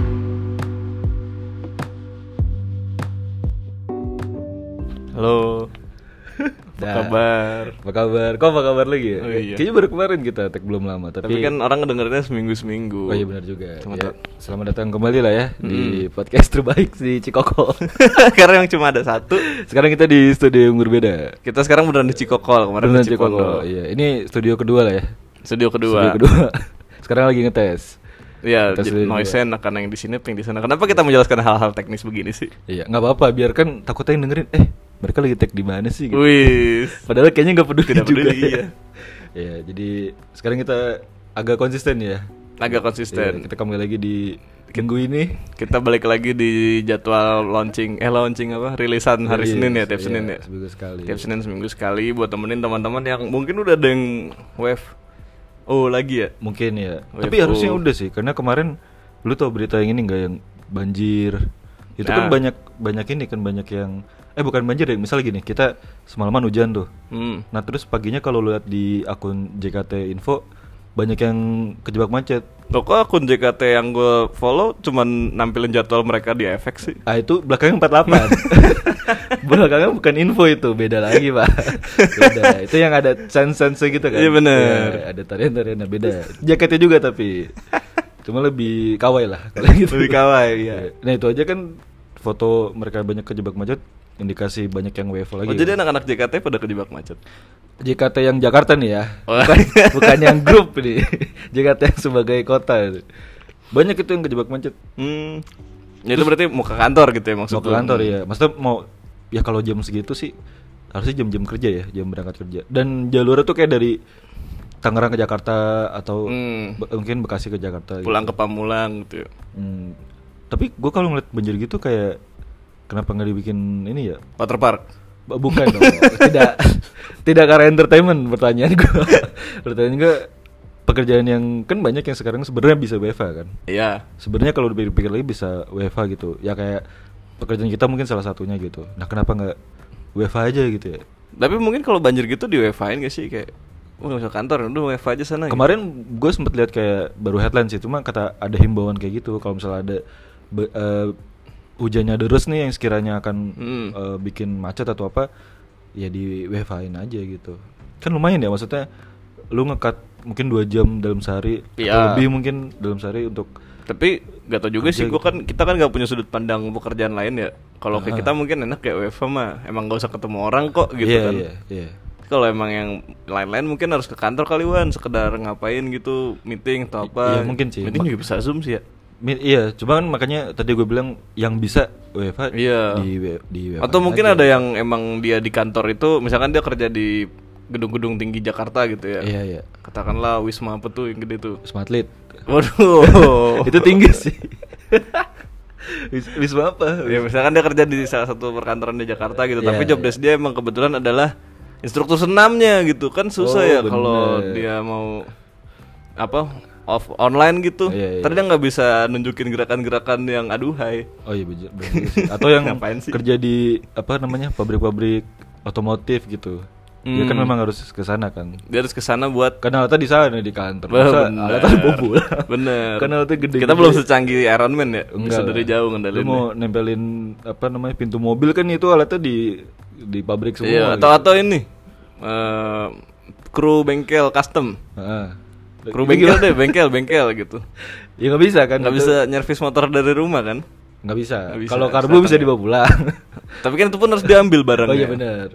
Halo. Apa Dah. kabar? Apa kabar? Kok apa kabar lagi ya? Oh, iya. Kayaknya baru kemarin kita tag belum lama, tapi, Tapi kan orang ngedengerinnya seminggu-seminggu. Oh iya benar juga. Selamat Ya, dat- selamat datang kembali lah ya di podcast terbaik di Cikoko. Karena yang cuma ada satu. Sekarang kita di studio yang berbeda. Kita sekarang beneran di Cikokol, kemarin Beneran di Cikondo. Cikoko. Iya, ini studio kedua lah ya. Studio kedua. Studio kedua. Sekarang lagi ngetes. Iya, Kita j- studio noise enak karena yang di sini, ping di sana. Kenapa kita menjelaskan hal-hal teknis begini sih? Iya, nggak apa-apa, biarkan takutnya yang dengerin, eh, mereka lagi tag di mana sih gitu. Wih. Padahal kayaknya nggak peduli Tidak juga. ya. peduli, iya. Iya, jadi sekarang kita agak konsisten ya. Agak Iya, konsisten. kita kembali lagi di minggu ini. Kita balik lagi di jadwal launching, eh launching apa? Rilisan hari Rilis, Senin ya, tiap iya, Senin ya. seminggu sekali. Tiap Senin seminggu sekali buat temenin teman-teman yang mungkin udah ada yang wave. Oh, lagi ya? Mungkin ya. WFO. Tapi harusnya udah sih karena kemarin lu tau berita yang ini nggak yang banjir. Itu kan Nah. banyak banyak ini kan banyak yang eh bukan banjir ya. Misal gini, kita semalaman hujan tuh. Hmm. Nah, terus paginya kalau lu lihat di akun JKT Info banyak yang kejebak macet. Loh kok akun JKT yang gue follow cuman nampilin jadwal mereka di efek sih? Ah itu belakangnya 48 Belakangnya bukan info itu Beda lagi pak Beda Itu yang ada sense-sense gitu kan Iya, bener. Ya, Ada tarian-tarian beda Jaketnya juga tapi Cuma lebih kawai lah kalau gitu. Lebih kawai, iya. Nah itu aja kan Foto mereka banyak kejebak macet Indikasi banyak yang WFO lagi Oh, jadi anak-anak JKT pada kejebak macet. JKT yang Jakarta nih ya Oh. bukan, bukan yang grup nih JKT yang sebagai kota Banyak itu yang kejebak macet Hmm. Jadi lu berarti mau ke kantor gitu ya maksud mau ke lu? kantor ya maksudnya mau ya kalau jam segitu sih harusnya jam-jam kerja ya jam berangkat kerja dan jalurnya tuh kayak dari Tangerang ke Jakarta atau Hmm. Be- mungkin Bekasi ke Jakarta gitu. Pulang ke Pamulang gitu. ya. Hmm. tapi gue kalau ngeliat banjir gitu kayak kenapa nggak dibikin ini ya Water Park. B- bukan dong tidak tidak karena entertainment pertanyaan gue pertanyaan gue pekerjaan yang kan banyak yang sekarang sebenarnya bisa WFA kan Iya. sebenarnya kalau dipikir-pikir lagi bisa WFA gitu ya kayak pekerjaan kita mungkin salah satunya gitu nah kenapa nggak WFA aja gitu ya Tapi mungkin kalau banjir gitu di WFA-in gak sih kayak Wah gak usah kantor, udah WFA aja sana kemarin gitu. gue sempet lihat kayak baru headline sih cuma kata ada himbauan kayak gitu kalau misalnya ada be- eh, hujannya deres nih yang sekiranya akan Hmm. eh, bikin macet atau apa ya di WFA-in aja gitu kan lumayan ya maksudnya lu ngekat mungkin dua jam dalam sehari atau Iya. lebih mungkin dalam sehari untuk Tapi gak tau juga sih, Kerja gua gitu. kan kita kan gak punya sudut pandang pekerjaan lain ya Kalau Ah. kayak kita mungkin enak kayak WFA mah Emang gak usah ketemu orang kok gitu Iya, kan iya, iya. Kalau emang yang lain-lain mungkin harus ke kantor kali Wan Sekedar ngapain gitu, meeting atau apa Iya, mungkin sih. Meeting juga bisa Zoom sih ya Mi- iya, cuma kan makanya tadi gue bilang yang bisa WFH Iya. di W- di WFH Atau mungkin aja. ada yang emang dia di kantor itu Misalkan dia kerja di gedung-gedung tinggi Jakarta gitu ya Iya, iya. Katakanlah Wisma apa tuh yang gede tuh Smart lead. Waduh Itu tinggi sih. Wis- Wisma apa? Ya misalkan dia kerja di salah satu perkantoran di Jakarta gitu, tapi Iya, job desk dia emang kebetulan adalah instruktur senamnya gitu. Kan susah Oh, ya kalau bener. dia mau apa? off online gitu. Iya, iya. Tadi dia nggak bisa nunjukin gerakan-gerakan yang aduhai. Oh iya bener, bener juga sih. Atau yang Ngapain sih? kerja di apa namanya? pabrik-pabrik otomotif gitu. Dia kan Hmm. memang harus ke sana kan. Dia harus ke sana buat Karena alatnya di sana di kantor. Wah, Masa bener. alatnya bobo lah. Bener. Karena alatnya gede. Kita belum secanggih Iron Man ya. bisa Enggak dari lah. jauh Lu ngendalin. ya. mau nempelin apa namanya pintu mobil kan itu alatnya di di pabrik semua. Iya, gitu. atau atau ini. eh, kru bengkel custom. Heeh. Kru bengkel deh, bengkel, bengkel gitu. Ya nggak bisa kan? Nggak itu- bisa nyervis motor dari rumah kan? Nggak bisa. Nggak bisa, Kalau harus karbu bisa datang ya. dibawa pulang. Tapi kan itu pun harus diambil barangnya. oh iya benar.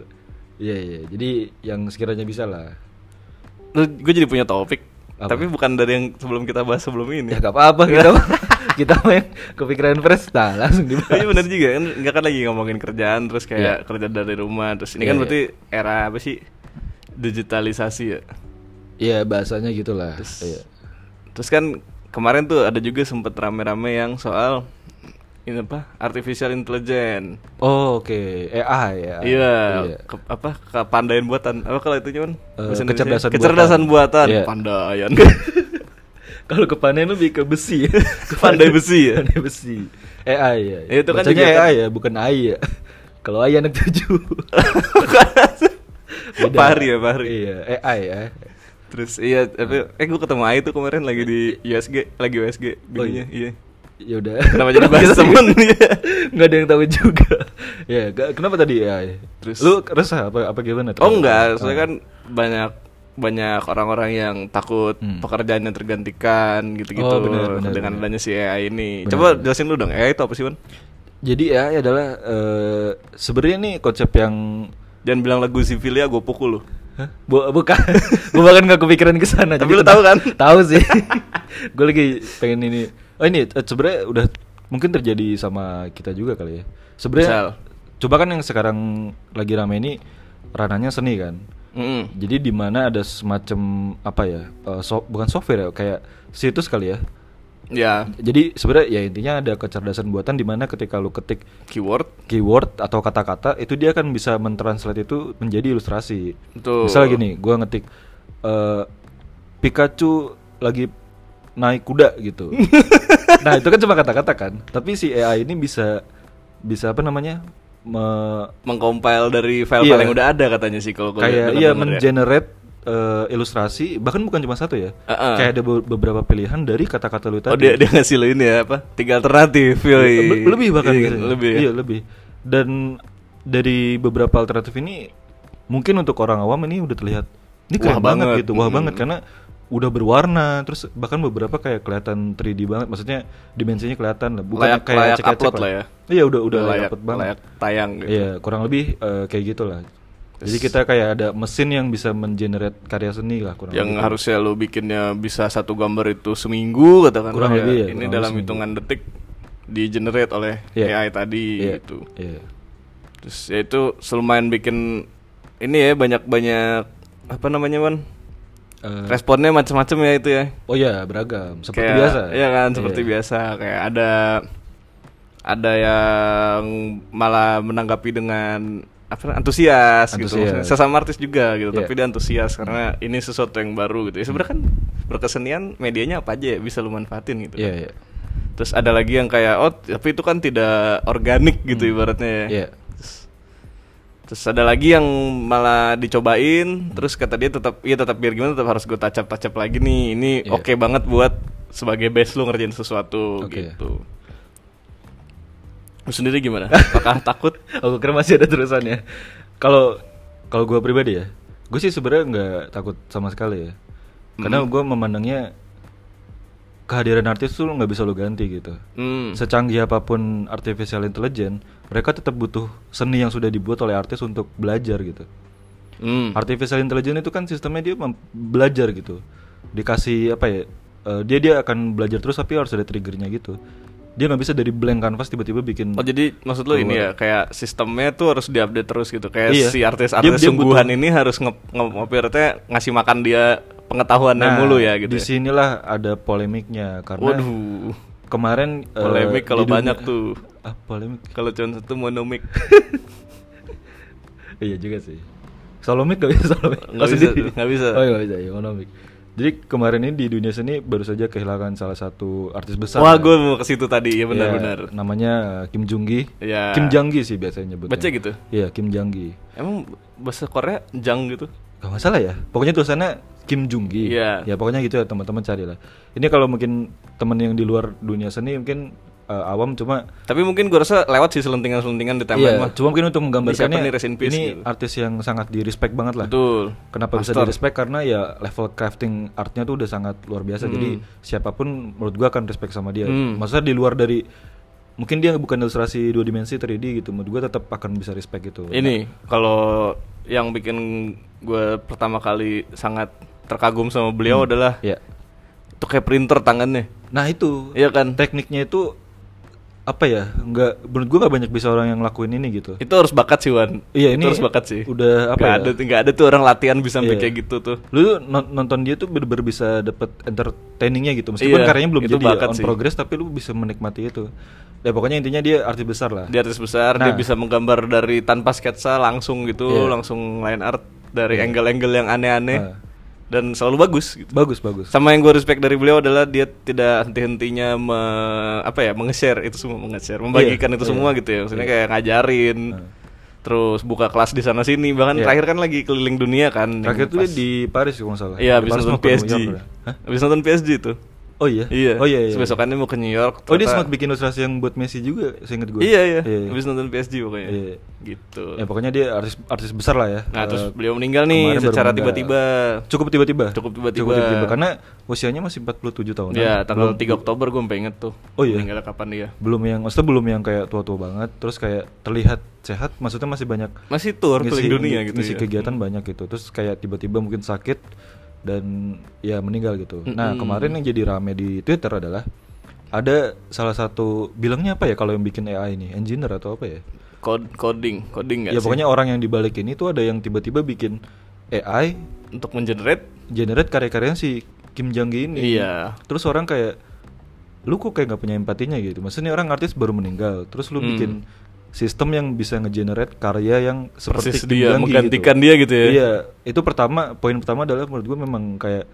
Iya iya. Jadi yang sekiranya bisa lah. Gue jadi punya topik. Apa? Tapi bukan dari yang sebelum kita bahas sebelum ini. Ya nggak apa-apa kita mah- kita main kepikiran fresh nah, Oh, langsung iya dibahas. benar juga kan nggak kan lagi ngomongin kerjaan terus kayak kerja dari rumah terus ini Iya, kan iya. berarti era apa sih digitalisasi ya. Iya bahasanya gitulah. Iya. Terus kan kemarin tuh ada juga sempet rame-rame yang soal ini apa artificial intelligence. Oh oke. AI ya. Iya, ke- apa kepandaian buatan. Apa kalau itu cuman Eh, bahasa Indonesianya? kecerdasan buatan. kecerdasan buatan, Iya. pandaian. Kalau kepanen lebih ke besi. ya? Pandai besi ya? Pandai besi. AI ya. Ya, itu kan Bacanya juga kan- AI ya, bukan AI ya. Kalau AI anak tujuh. Beda. Pahri ya, Pahri. Iya, AI ya. Terus iya, tapi Nah. eh gue ketemu Ai tuh kemarin lagi di USG, lagi USG Oh, bininya, iya. Ya udah. Kenapa jadi bahas temen ya? nggak ada yang tahu juga Ya, ga- kenapa tadi ya? Terus- lu resah apa apa gimana? Ah. Oh enggak, saya soalnya kan banyak banyak orang-orang yang takut Hmm. pekerjaannya tergantikan gitu-gitu Oh, benar, benar, dengan benar. adanya si AI ini. Benar, Coba benar. jelasin lu dong, AI itu apa sih, Man? Jadi AI adalah eh, sebenarnya nih konsep yang Jangan bilang lagu Zivilia gue pukul lu. Hah? Bu- bukan, gue bahkan gak kepikiran ke sana. Tapi Jadi lu tahu kan? kenapa- Tahu sih. gue lagi pengen ini. Oh ini eh, sebenarnya udah mungkin terjadi sama kita juga kali ya. Misal. Sebenarnya coba kan yang sekarang lagi rame ini ranahnya seni kan. Mm-mm. Jadi di mana ada semacam apa ya? eh, so- bukan software ya, kayak situs kali ya. Ya, Jadi sebenarnya ya intinya ada kecerdasan buatan di mana ketika lu ketik keyword. keyword atau kata-kata itu dia akan bisa mentranslate itu menjadi ilustrasi. Betul. Misalnya gini, gua ngetik eh, Pikachu lagi naik kuda gitu. nah, itu kan cuma kata-kata kan. Tapi si AI ini bisa bisa apa namanya? me- Mengcompile dari file-file Iya. yang udah ada katanya sih kalau gua kayak denger- denger iya ya. mengenerate eh, ilustrasi bahkan bukan cuma satu ya. Heeh. Kayak ada be- beberapa pilihan dari kata-kata lu tadi. Oh, dia dia ngasih lu ini ya apa? Tiga alternatif. yoi. Le- lebih bahkan Iya, biasanya. lebih. ya? iya lebih dan dari beberapa alternatif ini mungkin untuk orang awam ini udah terlihat ini Wah keren banget. banget. gitu wah Mm-mm. banget karena udah berwarna terus bahkan beberapa kayak kelihatan 3D banget maksudnya dimensinya kelihatan lah bukan Layak- kayak layak ecek-ecek upload lah ya. iya udah udah layak, upload banget layak tayang gitu. iya kurang lebih eh, kayak gitulah jadi kita kayak ada mesin yang bisa mengenerate karya seni lah kurang yang lebih. harusnya lu bikinnya bisa satu gambar itu seminggu katakan ya. Kurang lebih ya, ini kurang dalam lebih hitungan detik di generate oleh AI Iya. tadi Iya, gitu iya. terus ya itu lumayan bikin ini ya banyak banyak apa namanya man Eh, responnya macam-macam ya itu ya oh ya beragam seperti Kayak- biasa iya kan seperti Iya. biasa kayak ada ada yang malah menanggapi dengan apa antusias, gitu Antusias. Maksudnya sesama artis juga gitu Iya. tapi dia antusias karena ini sesuatu yang baru gitu ya sebenarnya kan berkesenian medianya apa aja ya bisa lu manfaatin gitu iya kan. iya terus ada lagi yang kayak oh tapi itu kan tidak organik gitu ibaratnya ya Iya. terus, terus ada lagi yang malah dicobain terus kata dia tetap iya tetap biar gimana tetap harus gue tacap tacap lagi nih ini Iya. oke banget buat sebagai base lu ngerjain sesuatu Oke. gitu lu sendiri gimana apakah takut Aku kira masih ada terusannya. Kalau kalau gue pribadi ya, gue sih sebenarnya nggak takut sama sekali ya. Karena Hmm. gue memandangnya kehadiran artis tuh nggak bisa lo ganti gitu. hmm. Secanggih apapun artificial intelligence, mereka tetap butuh seni yang sudah dibuat oleh artis untuk belajar gitu. hmm. Artificial intelligence itu kan sistemnya dia mem- belajar gitu. Dikasih apa ya? eh, dia dia akan belajar terus tapi harus ada triggernya gitu. Dia nggak bisa dari blank canvas tiba-tiba bikin Oh jadi maksud lo ini ya kayak sistemnya tuh harus diupdate terus gitu kayak Iya. si artis-artis Dia- dia sungguhan butuh- ini harus nge, nge, ibaratnya ngasih makan dia pengetahuannya mulu ya gitu. Di ya. sinilah Nah, ada polemiknya karena Waduh, kemarin eh, Polemik di kalau dunia- banyak tuh. Ah, polemik. kalau cuma satu monomik iya juga sih. Solomik gak bisa solomik. Nggak Oh, bisa sendiri. tuh, nggak bisa. Oh, iya, nggak bisa, iya, monomik. Jadi kemarin ini di dunia seni baru saja kehilangan salah satu artis besar. Wah, ya. gue mau ke situ tadi. Ya benar-benar. Ya, namanya Kim Jung Gi. Ya. Kim Jang Gi sih biasanya nyebutnya. Baca gitu. Iya, Kim Jang Gi. Emang bahasa Korea jang gitu. Gak masalah ya. Pokoknya tulisannya Kim Jung Gi. Iya. Ya pokoknya gitu ya teman-teman carilah. Ini kalau mungkin temen yang di luar dunia seni mungkin eh, awam cuma Tapi mungkin gue rasa lewat sih selentingan-selentingan di timeline Iya, mah. cuma mungkin untuk menggambarkannya Disiapin nih, rest in peace ini gitu. artis yang sangat di respect banget lah. Betul. Kenapa bisa di respect karena ya level crafting artnya tuh udah sangat luar biasa. Jadi siapapun menurut gua akan respect sama dia. Hmm. Maksudnya di luar dari mungkin dia bukan ilustrasi dua dimensi 3D gitu, menurut gua tetap akan bisa respect gitu. Ini kalau yang bikin gue pertama kali sangat terkagum sama beliau adalah Ya. itu kayak printer tangannya. Nah itu Iya kan? tekniknya itu apa ya? Nggak menurut gua nggak banyak bisa orang yang lakuin ini gitu. Itu harus bakat sih Wan. Iya, ini itu harus bakat sih. udah apa Nggak ya? ada nggak ada tuh orang latihan bisa sampai Iya. kayak gitu tuh. lu tuh non- nonton dia tuh bener-bener bisa dapet entertainingnya gitu meskipun Iya, karyanya belum itu jadi ya, bakat on sih. progress tapi lu bisa menikmati itu ya pokoknya intinya dia artis besar lah Dia artis besar, dia Nah. bisa menggambar dari tanpa sketsa langsung gitu, Iya. langsung line art dari angle-angle yang aneh-aneh Ah. dan selalu bagus gitu. bagus bagus Sama yang gue respect dari beliau adalah dia tidak henti-hentinya me, apa ya, menge-share itu semua, menge-share, membagikan Iya, itu iya. Nah. semua gitu ya. Maksudnya kayak ngajarin. Terus buka kelas di sana sini, bahkan Iya. terakhir kan lagi keliling dunia kan. yang terakhir tuh dia pas- di Paris kalau nggak salah Iya, Di habis Paris nonton maupun New PSG. York, ya. Hah? Habis nonton PSG tuh. Oh iya. Iya. Oh iya. iya. Terus besokannya mau ke New York. Oh dia ternyata- sempat bikin ilustrasi yang buat Messi juga, seinget gue. Iya iya. Habis nonton PSG pokoknya. Iya. Gitu. Ya pokoknya dia artis artis besar lah ya. Nah, terus Eh, beliau meninggal nih kemarin baru secara meninggal. tiba-tiba. Cukup tiba-tiba. Cukup tiba-tiba. Karena usianya masih 47 tahun. kan? Ya, tanggal belum, 3 Oktober gue pengen inget tuh. Oh, iya? Meninggalnya kapan dia? belum yang maksudnya belum yang kayak tua-tua banget, terus kayak terlihat sehat, maksudnya masih banyak Masih tour keliling dunia gitu ngisi ya. kegiatan banyak gitu. Terus kayak tiba-tiba mungkin sakit dan ya meninggal gitu. Nah, Mm-mm. kemarin yang jadi rame di Twitter adalah ada salah satu bilangnya apa ya kalau yang bikin AI ini, engineer atau apa ya? Cod- coding, coding nggak ya sih? pokoknya orang yang dibalik ini tuh ada yang tiba-tiba bikin AI untuk mengenerate generate karya-karyanya si Kim Jong Gi ini. Iya. Terus orang kayak lu kok kayak nggak punya empatinya gitu. Maksudnya orang artis baru meninggal, terus lu Hmm. bikin sistem yang bisa ngegenerate karya yang seperti persis dia menggantikan dia gitu ya. Iya, itu pertama poin pertama adalah menurut gue memang kayak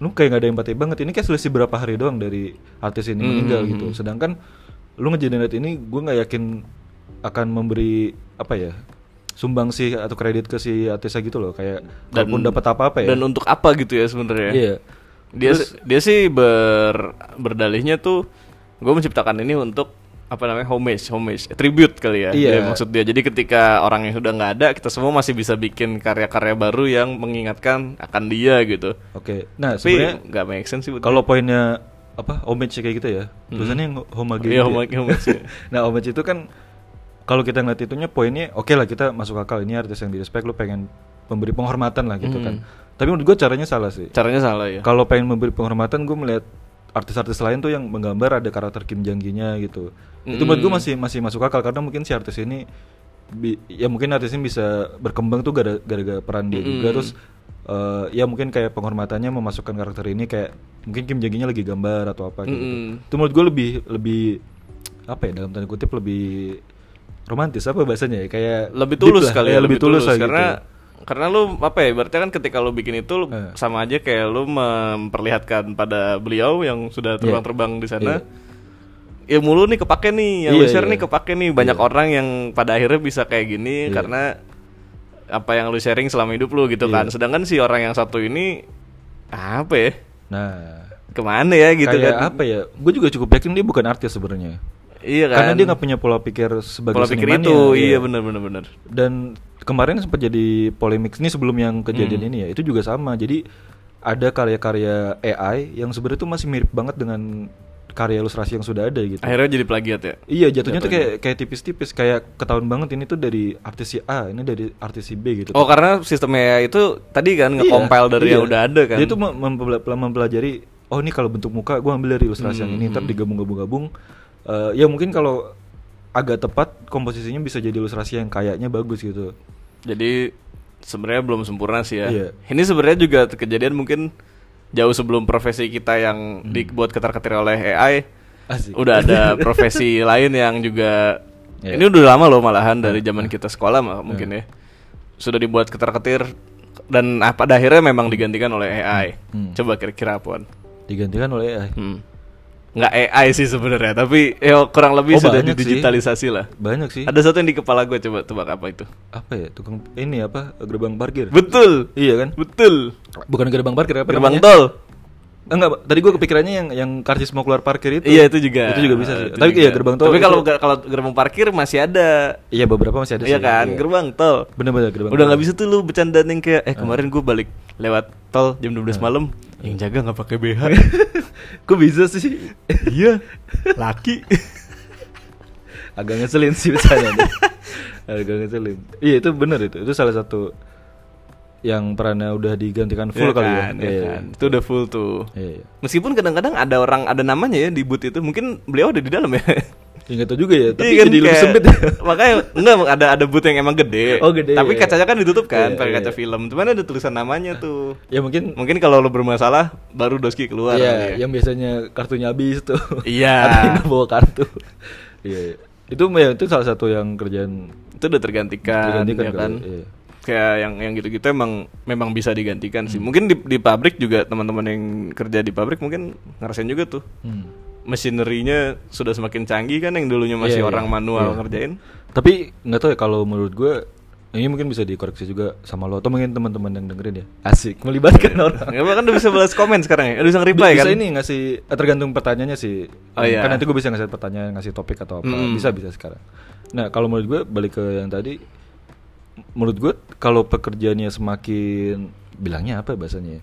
lu kayak nggak ada empati banget. Ini kayak selisih berapa hari doang dari artis ini Hmm. meninggal gitu. Sedangkan lu ngegenerate ini gue nggak yakin akan memberi apa ya sumbangsih atau kredit ke si artisnya gitu loh kayak Dan- kalaupun dapat apa-apa ya Dan untuk apa gitu ya sebenarnya? Iya. Dia dia sih ber berdalihnya tuh gue menciptakan ini untuk apa namanya homage, homage, eh, tribute kali ya. Iya. Jadi maksud dia. Jadi ketika orang yang sudah nggak ada, kita semua masih bisa bikin karya-karya baru yang mengingatkan akan dia gitu. Oke. Nah, sebenarnya Tapi nggak make sense sih. buat kalau poinnya apa homage kayak gitu ya. Tulisannya yang homogen. Hmm. Iya, homage- homage, iya. ya? nah, homage itu kan kalau kita ngeliat itunya poinnya oke lah kita masuk akal ini artis yang di respect lu pengen memberi penghormatan lah Hmm. gitu kan. Tapi menurut gua caranya salah sih. caranya salah ya. Kalau pengen memberi penghormatan gue melihat artis-artis lain tuh yang menggambar ada karakter Kim Jong Gi-nya gitu. Itu menurut gue masih masih masuk akal karena mungkin si artis ini bi- ya mungkin artisnya bisa berkembang tuh gara- gara-gara peran dia juga terus eh, ya mungkin kayak penghormatannya memasukkan karakter ini kayak mungkin Kim Jong Gi-nya lagi gambar atau apa gitu. Mm-mm. Itu menurut gue lebih lebih apa ya dalam tanda kutip lebih romantis apa bahasanya ya kayak lebih deep tulus lah. kali Ya, ya, lebih tulus, lah gitu. karena karena lu apa ya berarti kan ketika lu bikin itu lu Eh. sama aja kayak lu memperlihatkan pada beliau yang Iya. sudah terbang-terbang di sana ya mulu nih kepake nih yang Iya, lu share iya. nih kepake nih banyak orang yang pada akhirnya bisa kayak gini karena apa yang lu sharing selama hidup lu Iya. gitu kan sedangkan si orang yang satu ini apa ya Nah, kemana ya gitu kayak kan apa ya gue juga cukup yakin dia bukan artis sebenarnya iya kan karena dia nggak punya pola pikir sebagai pola pikir seniman itu ya, iya iya. benar benar benar dan kemarin sempat jadi polemik ini sebelum yang Hmm. kejadian ini ya itu juga sama jadi ada karya-karya AI yang sebenarnya tuh masih mirip banget dengan karya ilustrasi yang sudah ada gitu akhirnya jadi plagiat ya Iya jatuhnya tuh kayak kayak tipis-tipis kayak ketahuan banget ini tuh dari artis si A ini dari artis si B gitu. Oh karena sistemnya itu tadi kan nge-compile dari Iya, yang iya. udah ada kan. Dia tuh mem- mempela- mempelajari oh ini kalau bentuk muka gua ambil dari ilustrasi yang ini ntar Hmm. digabung-gabung-gabung Eh, ya mungkin kalau agak tepat komposisinya bisa jadi ilustrasi yang kayaknya bagus gitu. Jadi sebenarnya belum sempurna sih ya. Iya. Ini sebenarnya juga kejadian mungkin jauh sebelum profesi kita yang Hmm. dibuat ketar-ketir oleh AI, Asik. udah ada profesi lain yang juga Iya. ini udah lama loh malahan dari zaman kita sekolah mah mungkin ya. Sudah dibuat ketar-ketir dan ah, pada akhirnya memang digantikan oleh AI. Hmm. Coba kira-kira apaan? Digantikan oleh eh, AI. Hmm. Nggak AI sih sebenarnya, tapi ya kurang lebih Oh, sudah banyak sih. didigitalisasi lah. Banyak sih. Ada satu yang di kepala gue coba tebak apa itu. Apa ya tukang ini apa gerbang parkir? Betul. iya kan? Betul. Bukan gerbang ya? parkir apa Gerbang namanya? tol. Eh, Enggak, Pak. tadi gua kepikirannya yang yang karcis mau keluar parkir itu. Iya itu juga. Itu juga bisa sih. Itu Tapi juga. iya gerbang tol. Tapi itu- kalau kalau gerbang parkir masih ada. iya beberapa masih ada iya sih. kan, gerbang tol. Bener-bener gerbang. Ah. Udah nggak bisa tuh lu bercandaan yang kayak eh kemarin gue balik lewat tol jam 12 malam yang jaga nggak pakai BH. Kok bisa sih? iya. Laki. Agak ngeselin sih biasanya. nih. Agak ngeselin. Iya itu bener itu. Itu salah satu yang perannya udah digantikan Iya full kali kan, ya. iya kan. Itu udah full tuh. Iya. iya. Meskipun kadang-kadang ada orang ada namanya ya di boot itu, mungkin beliau ada di dalam ya. Ya, nggak tahu juga ya, tapi Iya jadi lebih kayak- sempit ya. Makanya enggak ada ada boot yang emang gede. Oh, gede, Tapi iya, iya. kacanya kan ditutup kan Iya, pakai iya, kaca iya. film. Cuman ada tulisan namanya tuh. Ya mungkin Mungkin kalau lo bermasalah baru Doski keluar. Iya, kali ya. yang biasanya kartunya habis tuh. Iya. Atau nggak bawa kartu. Iya. iya. Itu ya, itu salah satu yang kerjaan Itu udah tergantikan, Tergantikan ya kali, kan. iya. Kayak yang yang gitu-gitu emang memang bisa digantikan Hmm. sih. Mungkin di, di pabrik juga teman-teman yang kerja di pabrik mungkin ngerasain juga tuh. hmm. Mesinerinya sudah semakin canggih kan yang dulunya masih Iya, orang iya, manual iya. ngerjain. Tapi nggak tahu ya kalau menurut gue ini mungkin bisa dikoreksi juga sama lo atau mungkin teman-teman yang dengerin ya asik melibatkan orang Nggak apa kan udah bisa balas komen sekarang ya? Udah bisa reply bisa kan? ini ngasih eh, tergantung pertanyaannya sih Oh, iya. kan nanti gue bisa ngasih pertanyaan ngasih topik atau apa Mm. bisa bisa sekarang nah kalau menurut gue balik ke yang tadi menurut gue kalau pekerjaannya semakin bilangnya apa ya bahasanya ya?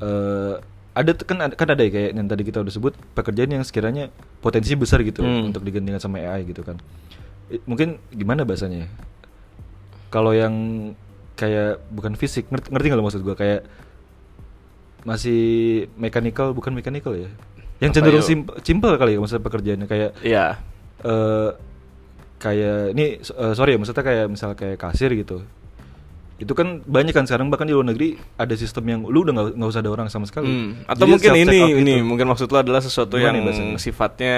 Eh, ada t- kan ada- kan ada ya kayak yang tadi kita udah sebut pekerjaan yang sekiranya potensi besar gitu Mm. untuk digantikan sama AI gitu kan Eh, mungkin gimana bahasanya ya? kalau yang kayak bukan fisik ngerti, ngerti nggak lo maksud gue kayak masih mechanical bukan mechanical ya yang Apa cenderung yuk? simp- simpel kali ya maksudnya pekerjaannya kayak Iya. eh kayak ini so- eh, sorry ya maksudnya kayak misal kayak kasir gitu itu kan banyak kan sekarang bahkan di luar negeri ada sistem yang lu udah nggak nggak usah ada orang sama sekali Hmm. Atau Jadi mungkin self-check ini out gitu. ini mungkin maksud lo adalah sesuatu Gimana yang ya bahasanya? sifatnya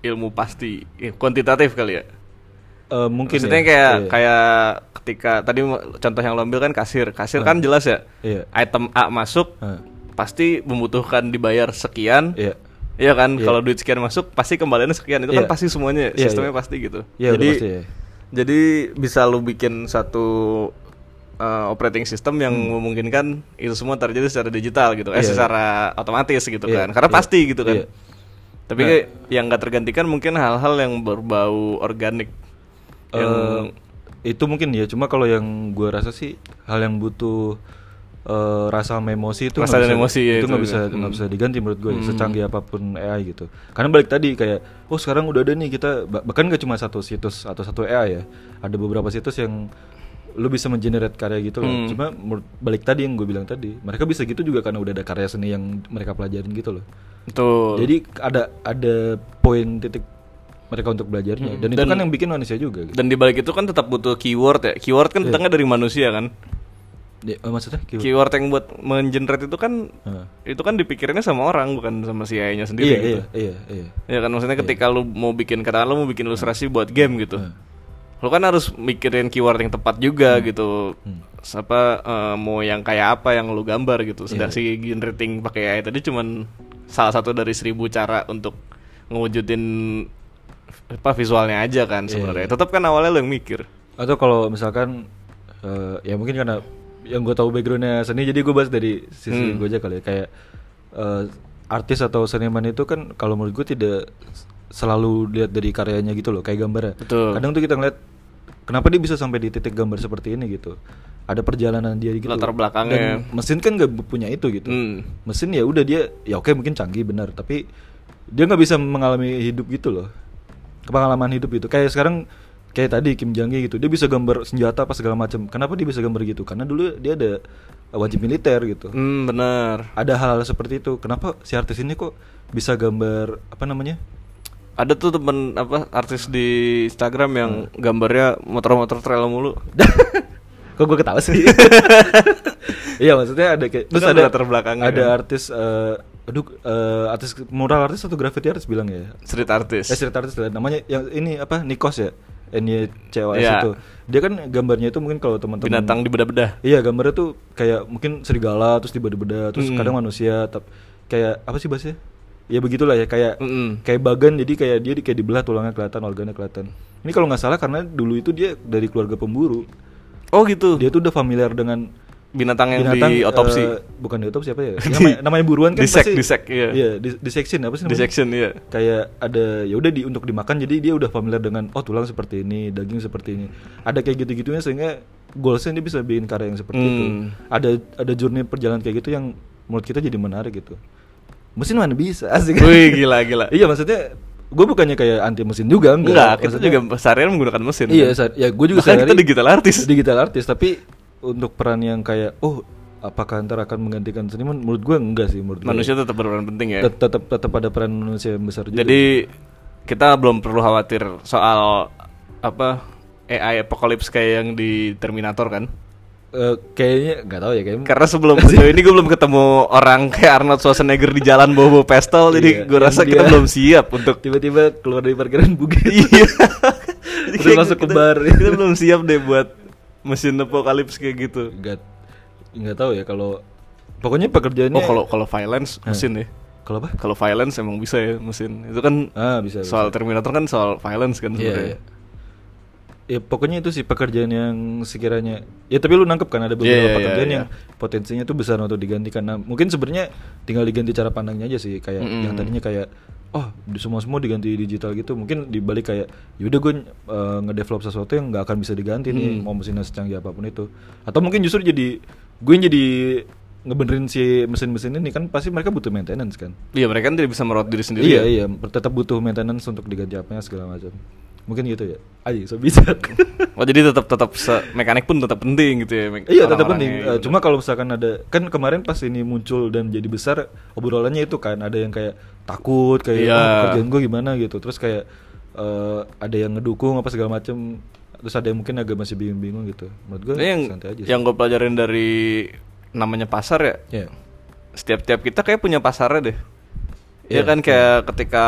ilmu pasti, eh, kuantitatif kali ya. Eh, mungkin Maksudnya ya. kayak Iya. kayak ketika tadi mo- contoh yang lo ambil kan kasir. Kasir kan Hmm. jelas ya. Iya. Item A masuk Hah, pasti membutuhkan dibayar sekian. iya Iya kan, Iya. kalau duit sekian masuk pasti kembaliannya sekian itu kan Iya. pasti semuanya Iya, sistemnya iya. pasti gitu. Iya, udah jadi pasti ya. jadi bisa lu bikin satu uh, operating system yang memungkinkan itu semua terjadi secara digital gitu, eh Hmm. Iya, iya. secara otomatis gitu Iya, kan, karena iya, pasti gitu kan. iya. Nah. Tapi kayak yang nggak tergantikan mungkin hal-hal yang berbau organik. Yang Eh, itu mungkin ya cuma kalau yang gua rasa sih hal yang butuh eh, rasa sama emosi itu Rasa nggak dan bisa- emosi ya itu itu nggak ya. bisa nggak Hmm. bisa diganti menurut gue secanggih apapun AI gitu karena balik tadi kayak oh sekarang udah ada nih kita bah- bahkan gak cuma satu situs atau satu AI ya ada beberapa situs yang lu bisa mengenerate karya gitu loh Hmm. cuma menurut- balik tadi yang gue bilang tadi mereka bisa gitu juga karena udah ada karya seni yang mereka pelajarin gitu loh tuh. jadi ada ada poin titik mereka untuk belajarnya dan, itu Hmm. Dan- kan yang bikin manusia juga gitu. dan dibalik itu kan tetap butuh keyword ya. Keyword Iya. kan datangnya dari manusia kan. Ya, eh, maksudnya gimana? Keyword yang buat mengenerate itu kan Heeh. itu kan dipikirinnya sama orang bukan sama si AI-nya sendiri iya, gitu. iya, iya, iya. Ya kan maksudnya ketika lu mau bikin katakan lu mau bikin ilustrasi buat game gitu. Hmm. Lu kan harus mikirin keyword yang tepat juga gitu. Hmm. Apa eh, mau yang kayak apa yang lu gambar gitu. Iya, Sedang si generating pakai AI tadi cuman salah satu dari seribu cara untuk ngewujudin apa visualnya aja kan Iya, sebenarnya. Tetap kan awalnya lu yang mikir. Atau kalau misalkan eh, ya mungkin karena yang gue tahu backgroundnya seni, jadi gue bahas dari Hmm. sisi gue aja kali. ya. Kayak eh, artis atau seniman itu kan kalau menurut gue tidak s- selalu lihat dari karyanya gitu loh, kayak gambarnya. Betul. Kadang tuh kita ngeliat kenapa dia bisa sampai di titik gambar seperti ini gitu. Ada perjalanan dia gitu. Latar belakangnya. Dan mesin kan gak punya itu gitu. Hmm. mesin ya udah dia ya oke mungkin canggih benar tapi dia nggak bisa mengalami hidup gitu loh pengalaman hidup gitu kayak sekarang kayak tadi Kim Jong gitu dia bisa gambar senjata apa segala macam kenapa dia bisa gambar gitu karena dulu dia ada wajib militer gitu Hmm, benar. ada hal-hal seperti itu kenapa si artis ini kok bisa gambar apa namanya Ada tuh temen apa artis di Instagram yang Hmm. gambarnya motor-motor trail mulu. kok gue ketawa sih iya maksudnya ada kayak Itu kan latar belakangnya ada kan. artis eh, aduh eh, artis mural artis atau graffiti artis bilang ya Street artis. Eh street artist lah. namanya yang ini apa Nikos ya NYCOS Iya. itu dia kan gambarnya itu mungkin kalau teman-teman Binatang di bedah-bedah. iya gambarnya tuh kayak mungkin serigala terus tiba-tiba terus Mm. kadang manusia tapi kayak apa sih bahasanya ya begitulah ya kayak Mm-mm. kayak bagan jadi kayak dia di- kayak dibelah tulangnya kelihatan organnya kelihatan ini kalau nggak salah karena dulu itu dia dari keluarga pemburu Oh gitu. dia tuh udah familiar dengan binatang yang binatang, di otopsi. eh, bukan di otopsi apa ya namanya, namanya buruan kan Disek, pasti disek, iya. di, dissection apa sih namanya Dissection ya. kayak ada ya udah di untuk dimakan jadi dia udah familiar dengan oh tulang seperti ini daging seperti ini ada kayak gitu gitunya sehingga goalsnya dia bisa bikin karya yang seperti itu Hmm. ada ada journey perjalanan kayak gitu yang menurut kita jadi menarik gitu mesin mana bisa asik Wih, gila gila. iya maksudnya gue bukannya kayak anti mesin juga enggak, Enggak, kita Maksudnya- juga seharian menggunakan mesin. kan? iya sa- ya gue juga Bahkan kita sehari- digital artis. digital artis tapi untuk peran yang kayak oh apakah ntar akan menggantikan seniman menurut gue enggak sih menurut gue Manusia tetap berperan penting ya. Tet- tetap tetap ada peran manusia yang besar juga Jadi kita belum perlu khawatir soal apa AI apocalypse kayak yang di Terminator kan? Eh, kayaknya nggak tahu ya kayaknya Karena sebelum sejauh ini gue belum ketemu orang kayak Arnold Schwarzenegger di jalan bawa-bawa pistol, Iya, jadi gue yang rasa kita dia- belum siap untuk tiba-tiba keluar dari parkiran bugil iya. Terus kayak Iya, masuk ke kita- bar. Kita belum siap deh buat mesin apocalypse kayak gitu. nggak nggak tahu ya kalau pokoknya pekerjaannya Oh kalau kalau violence mesin ya. kalau apa Kalau violence emang bisa ya mesin. Itu kan ah bisa soal Terminator kan soal violence kan Iya, sebenarnya. iya. ya pokoknya itu sih pekerjaan yang sekiranya ya tapi lu nangkep kan ada beberapa Iya, iya, pekerjaan iya, yang potensinya tuh besar untuk diganti karena mungkin sebenarnya tinggal diganti cara pandangnya aja sih kayak Mm-mm. yang tadinya kayak oh semua semua diganti digital gitu mungkin dibalik kayak yaudah gue eh, ngedevelop sesuatu yang nggak akan bisa diganti nih mau mesinnya secanggih apapun itu atau mungkin justru jadi gue yang jadi ngebenerin si mesin-mesin ini kan pasti mereka butuh maintenance kan Iya mereka kan tidak bisa merawat diri sendiri. iya ya. iya tetap butuh maintenance untuk diganti apanya segala macam mungkin gitu ya ayo so bisa Oh jadi tetap tetap se- mekanik pun tetap penting gitu ya. me- Iya tetap orang-orangnya penting. Eh, gitu. Cuma kalau misalkan ada kan kemarin pas ini muncul dan jadi besar obrolannya itu kan ada yang kayak takut kayak Iya. "Ah, kerjaan gue gimana gitu. Terus kayak eh, ada yang ngedukung apa segala macem. Terus ada yang mungkin agak masih bingung-bingung gitu. Menurut gue Tapi Nah, yang santai aja. sih. yang gue pelajarin dari namanya pasar ya. Iya. Setiap-tiap kita kayak punya pasarnya deh. Iya Iya, kan kayak ketika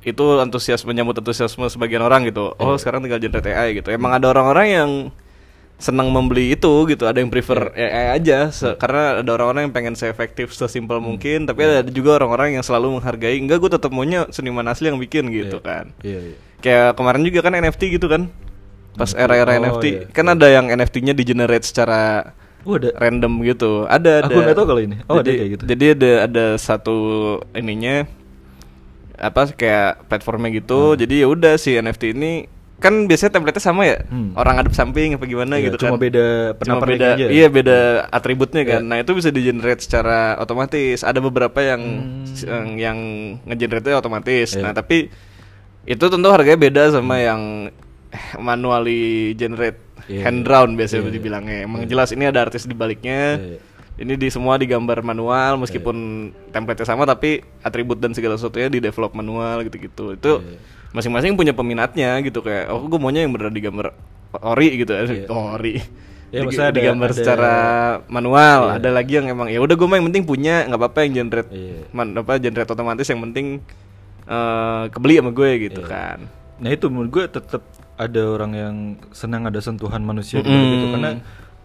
itu antusias menyambut antusiasme sebagian orang gitu. Iya. Oh sekarang tinggal generate AI gitu. Emang ada orang-orang yang senang membeli itu gitu. Ada yang prefer Iya. AI aja se- karena ada orang-orang yang pengen seefektif sesimpel Hmm. mungkin. Tapi Iya. ada juga orang-orang yang selalu menghargai. Enggak gue tetap maunya seniman asli yang bikin gitu kan. Iya, iya. Kayak kemarin juga kan NFT gitu kan. Pas era-era Oh, NFT, iya. kan ada yang NFT-nya di-generate secara Oh, ada. random gitu. Ada ada. Aku nggak tahu kalau ini. Oh, ada jadi, kayak gitu. Jadi ada ada satu ininya apa kayak platformnya Hmm. gitu. Jadi ya udah si NFT ini kan biasanya template-nya sama ya. Hmm. Orang ngadep samping apa gimana Iya, gitu cuma kan. beda Cuma penampakannya beda aja. iya beda atributnya kan. Iya. Nah, itu bisa di-generate secara otomatis. Ada beberapa yang yang, yang nge-generate-nya otomatis. Hmm. Iya. Hmm. Nah, tapi itu tentu harganya beda sama yang eh, manually generate Iya, hand iya. drawn biasanya Iya, iya. dibilangnya. Emang jelas ini ada artis di baliknya. Iya, iya. Ini di semua digambar manual meskipun template-nya sama tapi atribut dan segala sesuatunya di develop manual gitu-gitu. Itu Iya, iya. masing-masing punya peminatnya gitu kayak oh gue maunya yang beneran digambar ori gitu. Ori. Di- Ya, maksudnya ada- digambar ada- secara manual ada lagi yang emang ya udah gue mah yang penting punya nggak apa-apa yang generate Iya. man- apa generate otomatis yang penting eh, kebeli sama gue gitu kan Nah itu menurut gue tetap ada orang yang senang ada sentuhan manusia gitu, Mm-mm. gitu. karena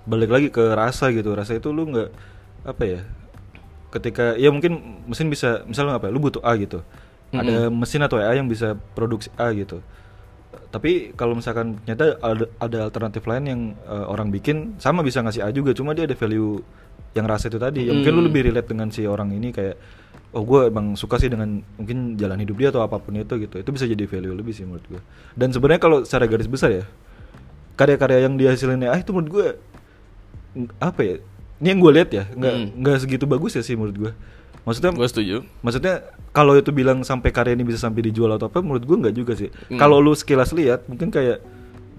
balik lagi ke rasa gitu rasa itu lu nggak apa ya ketika ya mungkin mesin bisa misalnya apa ya, lu butuh A gitu ada mesin atau AI yang bisa produksi A gitu tapi kalau misalkan ternyata ada, ada alternatif lain yang eh, orang bikin sama bisa ngasih A juga cuma dia ada value yang rasa itu tadi Ya mungkin lu lebih relate dengan si orang ini kayak oh gue emang suka sih dengan mungkin jalan hidup dia atau apapun itu gitu itu bisa jadi value lebih sih menurut gue dan sebenarnya kalau secara garis besar ya karya-karya yang dihasilin ah itu menurut gue n- apa ya ini yang gue lihat ya nggak Hmm. nggak segitu bagus ya sih menurut gue maksudnya gue setuju Maksudnya kalau itu bilang sampai karya ini bisa sampai dijual atau apa, menurut gua nggak juga sih. Hmm. Kalau lu sekilas lihat, mungkin kayak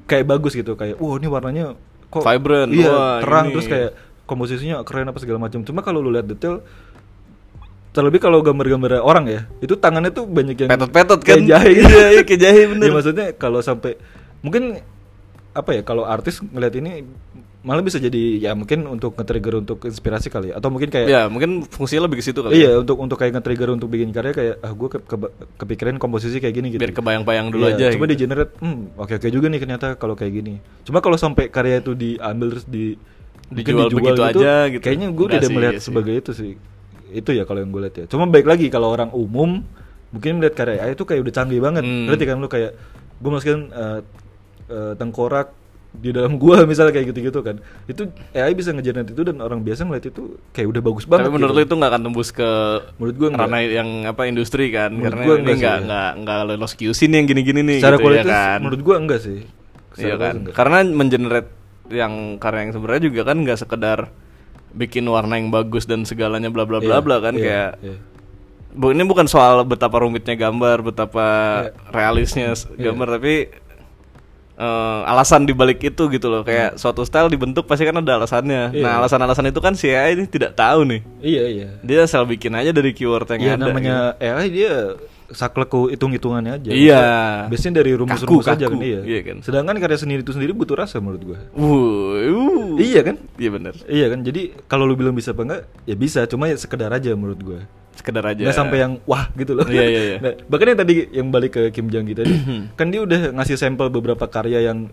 kayak bagus gitu, kayak, wow ini warnanya kok Vibrant, iya wah, terang ini." terus kayak komposisinya keren apa segala macam. Cuma kalau lu lihat detail, terlebih kalau gambar-gambar orang ya, itu tangannya tuh banyak yang Petot-petot kayak kan? jahe, gitu. Iya, iya, kayak jahe, bener. Ya, maksudnya kalau sampai mungkin apa ya kalau artis ngelihat ini malah bisa jadi ya mungkin untuk nge-trigger untuk inspirasi kali ya. atau mungkin kayak ya mungkin fungsinya lebih ke situ kali ya. Iya, untuk untuk kayak nge-trigger untuk bikin karya kayak ah gue ke, ke- kepikiran komposisi kayak gini gitu. biar kebayang-bayang dulu Iya, aja gitu. Coba di generate, hmm, oke oke juga nih ternyata kalau kayak gini. Cuma kalau sampai karya itu diambil terus di mungkin Dijual begitu aja gitu. Kayaknya gue Udah tidak sih, melihat iya sih. sebagai itu sih. Itu ya kalau yang gue lihat ya. Cuma baik lagi kalau orang umum mungkin melihat karya AI itu kayak udah canggih banget. Hmm. Berarti kan lu kayak gue masukin eh, eh, tengkorak di dalam gua misalnya kayak gitu-gitu kan. Itu AI bisa ngejenet itu dan orang biasa ngeliat itu kayak udah bagus banget. tapi menurut gitu. lu itu nggak akan tembus ke Menurut gua enggak. ranah yang apa industri kan Menurut karena gua ini enggak sih, nggak ya. nggak nggak lolos QC nih yang gini-gini nih secara gitu ya kualitas kan. menurut gua enggak sih Iya kan. Secara kualitas enggak. Karena mengenerate yang karya yang sebenarnya juga kan nggak sekedar bikin warna yang bagus dan segalanya bla bla bla Iya, bla kan iya, kayak iya. Bu, ini bukan soal betapa rumitnya gambar, betapa Iya. realisnya s- gambar, tapi eh, alasan dibalik itu gitu loh. Kayak suatu style dibentuk pasti kan ada alasannya. Hmm. Iya. Nah, alasan-alasan itu kan si AI ini tidak tahu nih. iya iya Dia asal bikin aja dari keyword yang Iya, ada. namanya AI dia sakleku hitung-hitungannya aja Iya. biasanya dari rumus-rumus Kaku, aja kan kaku. iya. Iya kan. sedangkan karya seni itu sendiri butuh rasa menurut gua Wuh, wuh. iya kan Iya bener. iya kan jadi kalau lu bilang bisa apa enggak ya bisa cuma ya sekedar aja menurut gua Sekedar aja. Nggak sampai yang wah gitu loh. Iya, iya, Hmm. iya. Nah, bahkan yang tadi yang balik ke Kim Jong gitu tadi, kan dia udah ngasih sampel beberapa karya yang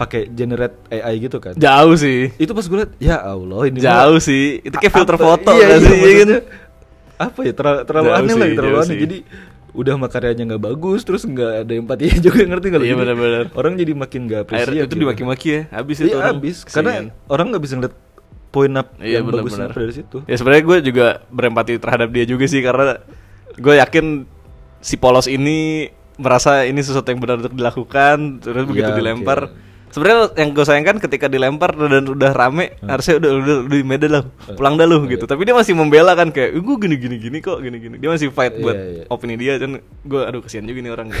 pakai generate AI gitu kan. Jauh sih. itu pas gue liat ya Allah ini mah Jauh sih. Itu kayak filter apa- foto iya, nggak iya, sih, iya kan? maksudnya, apa ya terlalu, terlalu Jauh aneh sih, lagi terlalu jauh aneh sih. jadi udah makaryanya nggak bagus terus nggak ada empatinya juga ngerti nggak lu? Iya, Jadi benar-benar. orang jadi makin nggak Air apresiasi gitu. itu dimaki-maki ya habis itu iya, orang. kan. habis Kesian. karena orang nggak bisa ngeliat poin up Iya yang bagusnya benar-benar. dari situ Ya sebenarnya gue juga berempati terhadap dia juga sih karena gue yakin si polos ini merasa ini sesuatu yang benar untuk dilakukan terus Iya, begitu oke. dilempar. Sebenarnya yang gue sayangkan ketika dilempar dan udah rame Hmm. harusnya udah udah, udah di medan lah pulang dah Iya. lu gitu. Tapi dia masih membela kan kayak "Eh, gue gini gini gini kok gini gini. Dia masih fight Iya, buat iya. opini dia dan gue aduh kesian juga nih orang.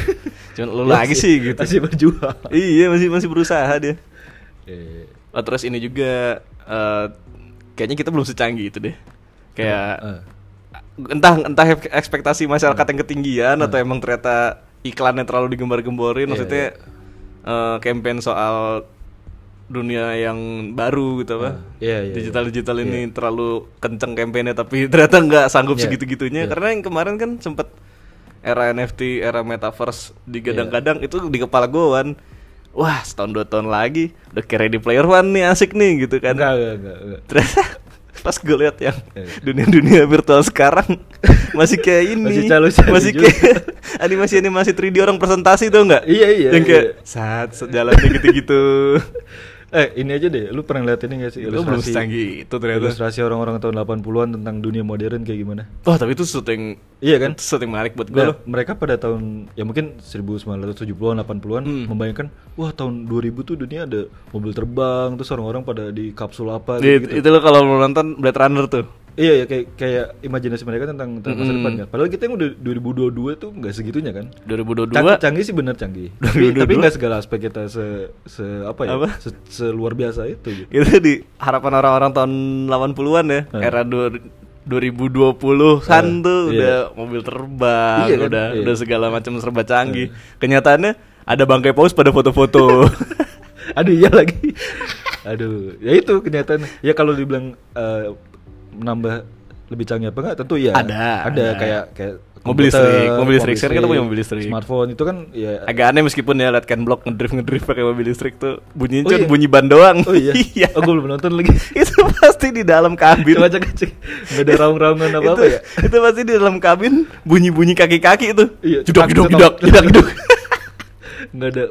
Cuman lu lagi Iya sih gitu. masih berjuang iya masih masih berusaha dia. Iya. Oh, terus ini juga eh, kayaknya kita belum secanggih itu deh. Kayak Ah. entah entah ek- ekspektasi masyarakat Hmm. yang ketinggian atau emang ternyata iklannya terlalu digembar-gemborin Iya, maksudnya eh, campaign soal dunia yang baru gitu apa. iya, iya, Digital-digital ini terlalu kenceng campaignnya tapi ternyata nggak sanggup Iya, segitu-gitunya karena yang kemarin kan sempet era NFT, era metaverse digadang-gadang Iya. itu di kepala gue Wan. Wah, setahun dua tahun lagi udah kayak ready player one nih asik nih gitu kan. enggak enggak enggak, enggak. Ternyata pas gue lihat yang Iya. dunia-dunia virtual sekarang masih kayak ini, Masih calo-calo masih juga. kayak animasi-animasi 3D orang presentasi tuh nggak? Iya, iya, Yang kayak iya. saat jalannya gitu-gitu. eh ini aja deh lu pernah lihat ini gak sih Itu belum secanggih itu ternyata. ilustrasi orang-orang tahun 80-an tentang dunia modern kayak gimana Wah, tapi itu sesuatu yang iya kan itu sesuatu yang menarik buat gue Nah, loh. mereka pada tahun ya mungkin 1970-an 80-an Hmm. membayangkan wah tahun 2000 tuh dunia ada mobil terbang terus orang-orang pada di kapsul apa Iya, gitu. Itu lo kalau lo nonton Blade Runner tuh. Iya ya kayak kayak imajinasi mereka tentang, tentang Hmm. masa depan kan. Padahal kita yang udah 2022 tuh nggak segitunya kan. 2022 Cang- canggih sih bener canggih. tapi 2022. tapi nggak segala aspek kita se se apa ya? Apa? Se, seluar biasa itu gitu. itu di harapan orang-orang tahun 80-an ya, Hmm. era du- 2020-an tuh iya. udah mobil terbang, Iya kan? udah Iya. Eh. udah segala macam serba canggih. Kenyataannya ada bangkai paus pada foto-foto. Aduh iya lagi. Aduh, ya itu kenyataan. Ya kalau dibilang eh, menambah lebih canggih apa enggak? Tentu ya. Ada, Ada, ada. kayak kayak Mobil komputer, listrik, mobil listrik. Sekarang kita punya mobil listrik. Smartphone itu kan ya Agak aneh meskipun ya liat Ken Block ngedrift ngedrift pakai mobil listrik tuh bunyinya Oh cuma iya. bunyi ban doang. Oh iya. Oh, gue belum nonton lagi. itu pasti di dalam kabin. Coba cek cek. Enggak ada raung-raungan apa-apa itu, ya. Itu pasti di dalam kabin bunyi-bunyi kaki-kaki itu. Iya, jedok jedok cetak, jedok cetak, jedok jedok. Enggak ada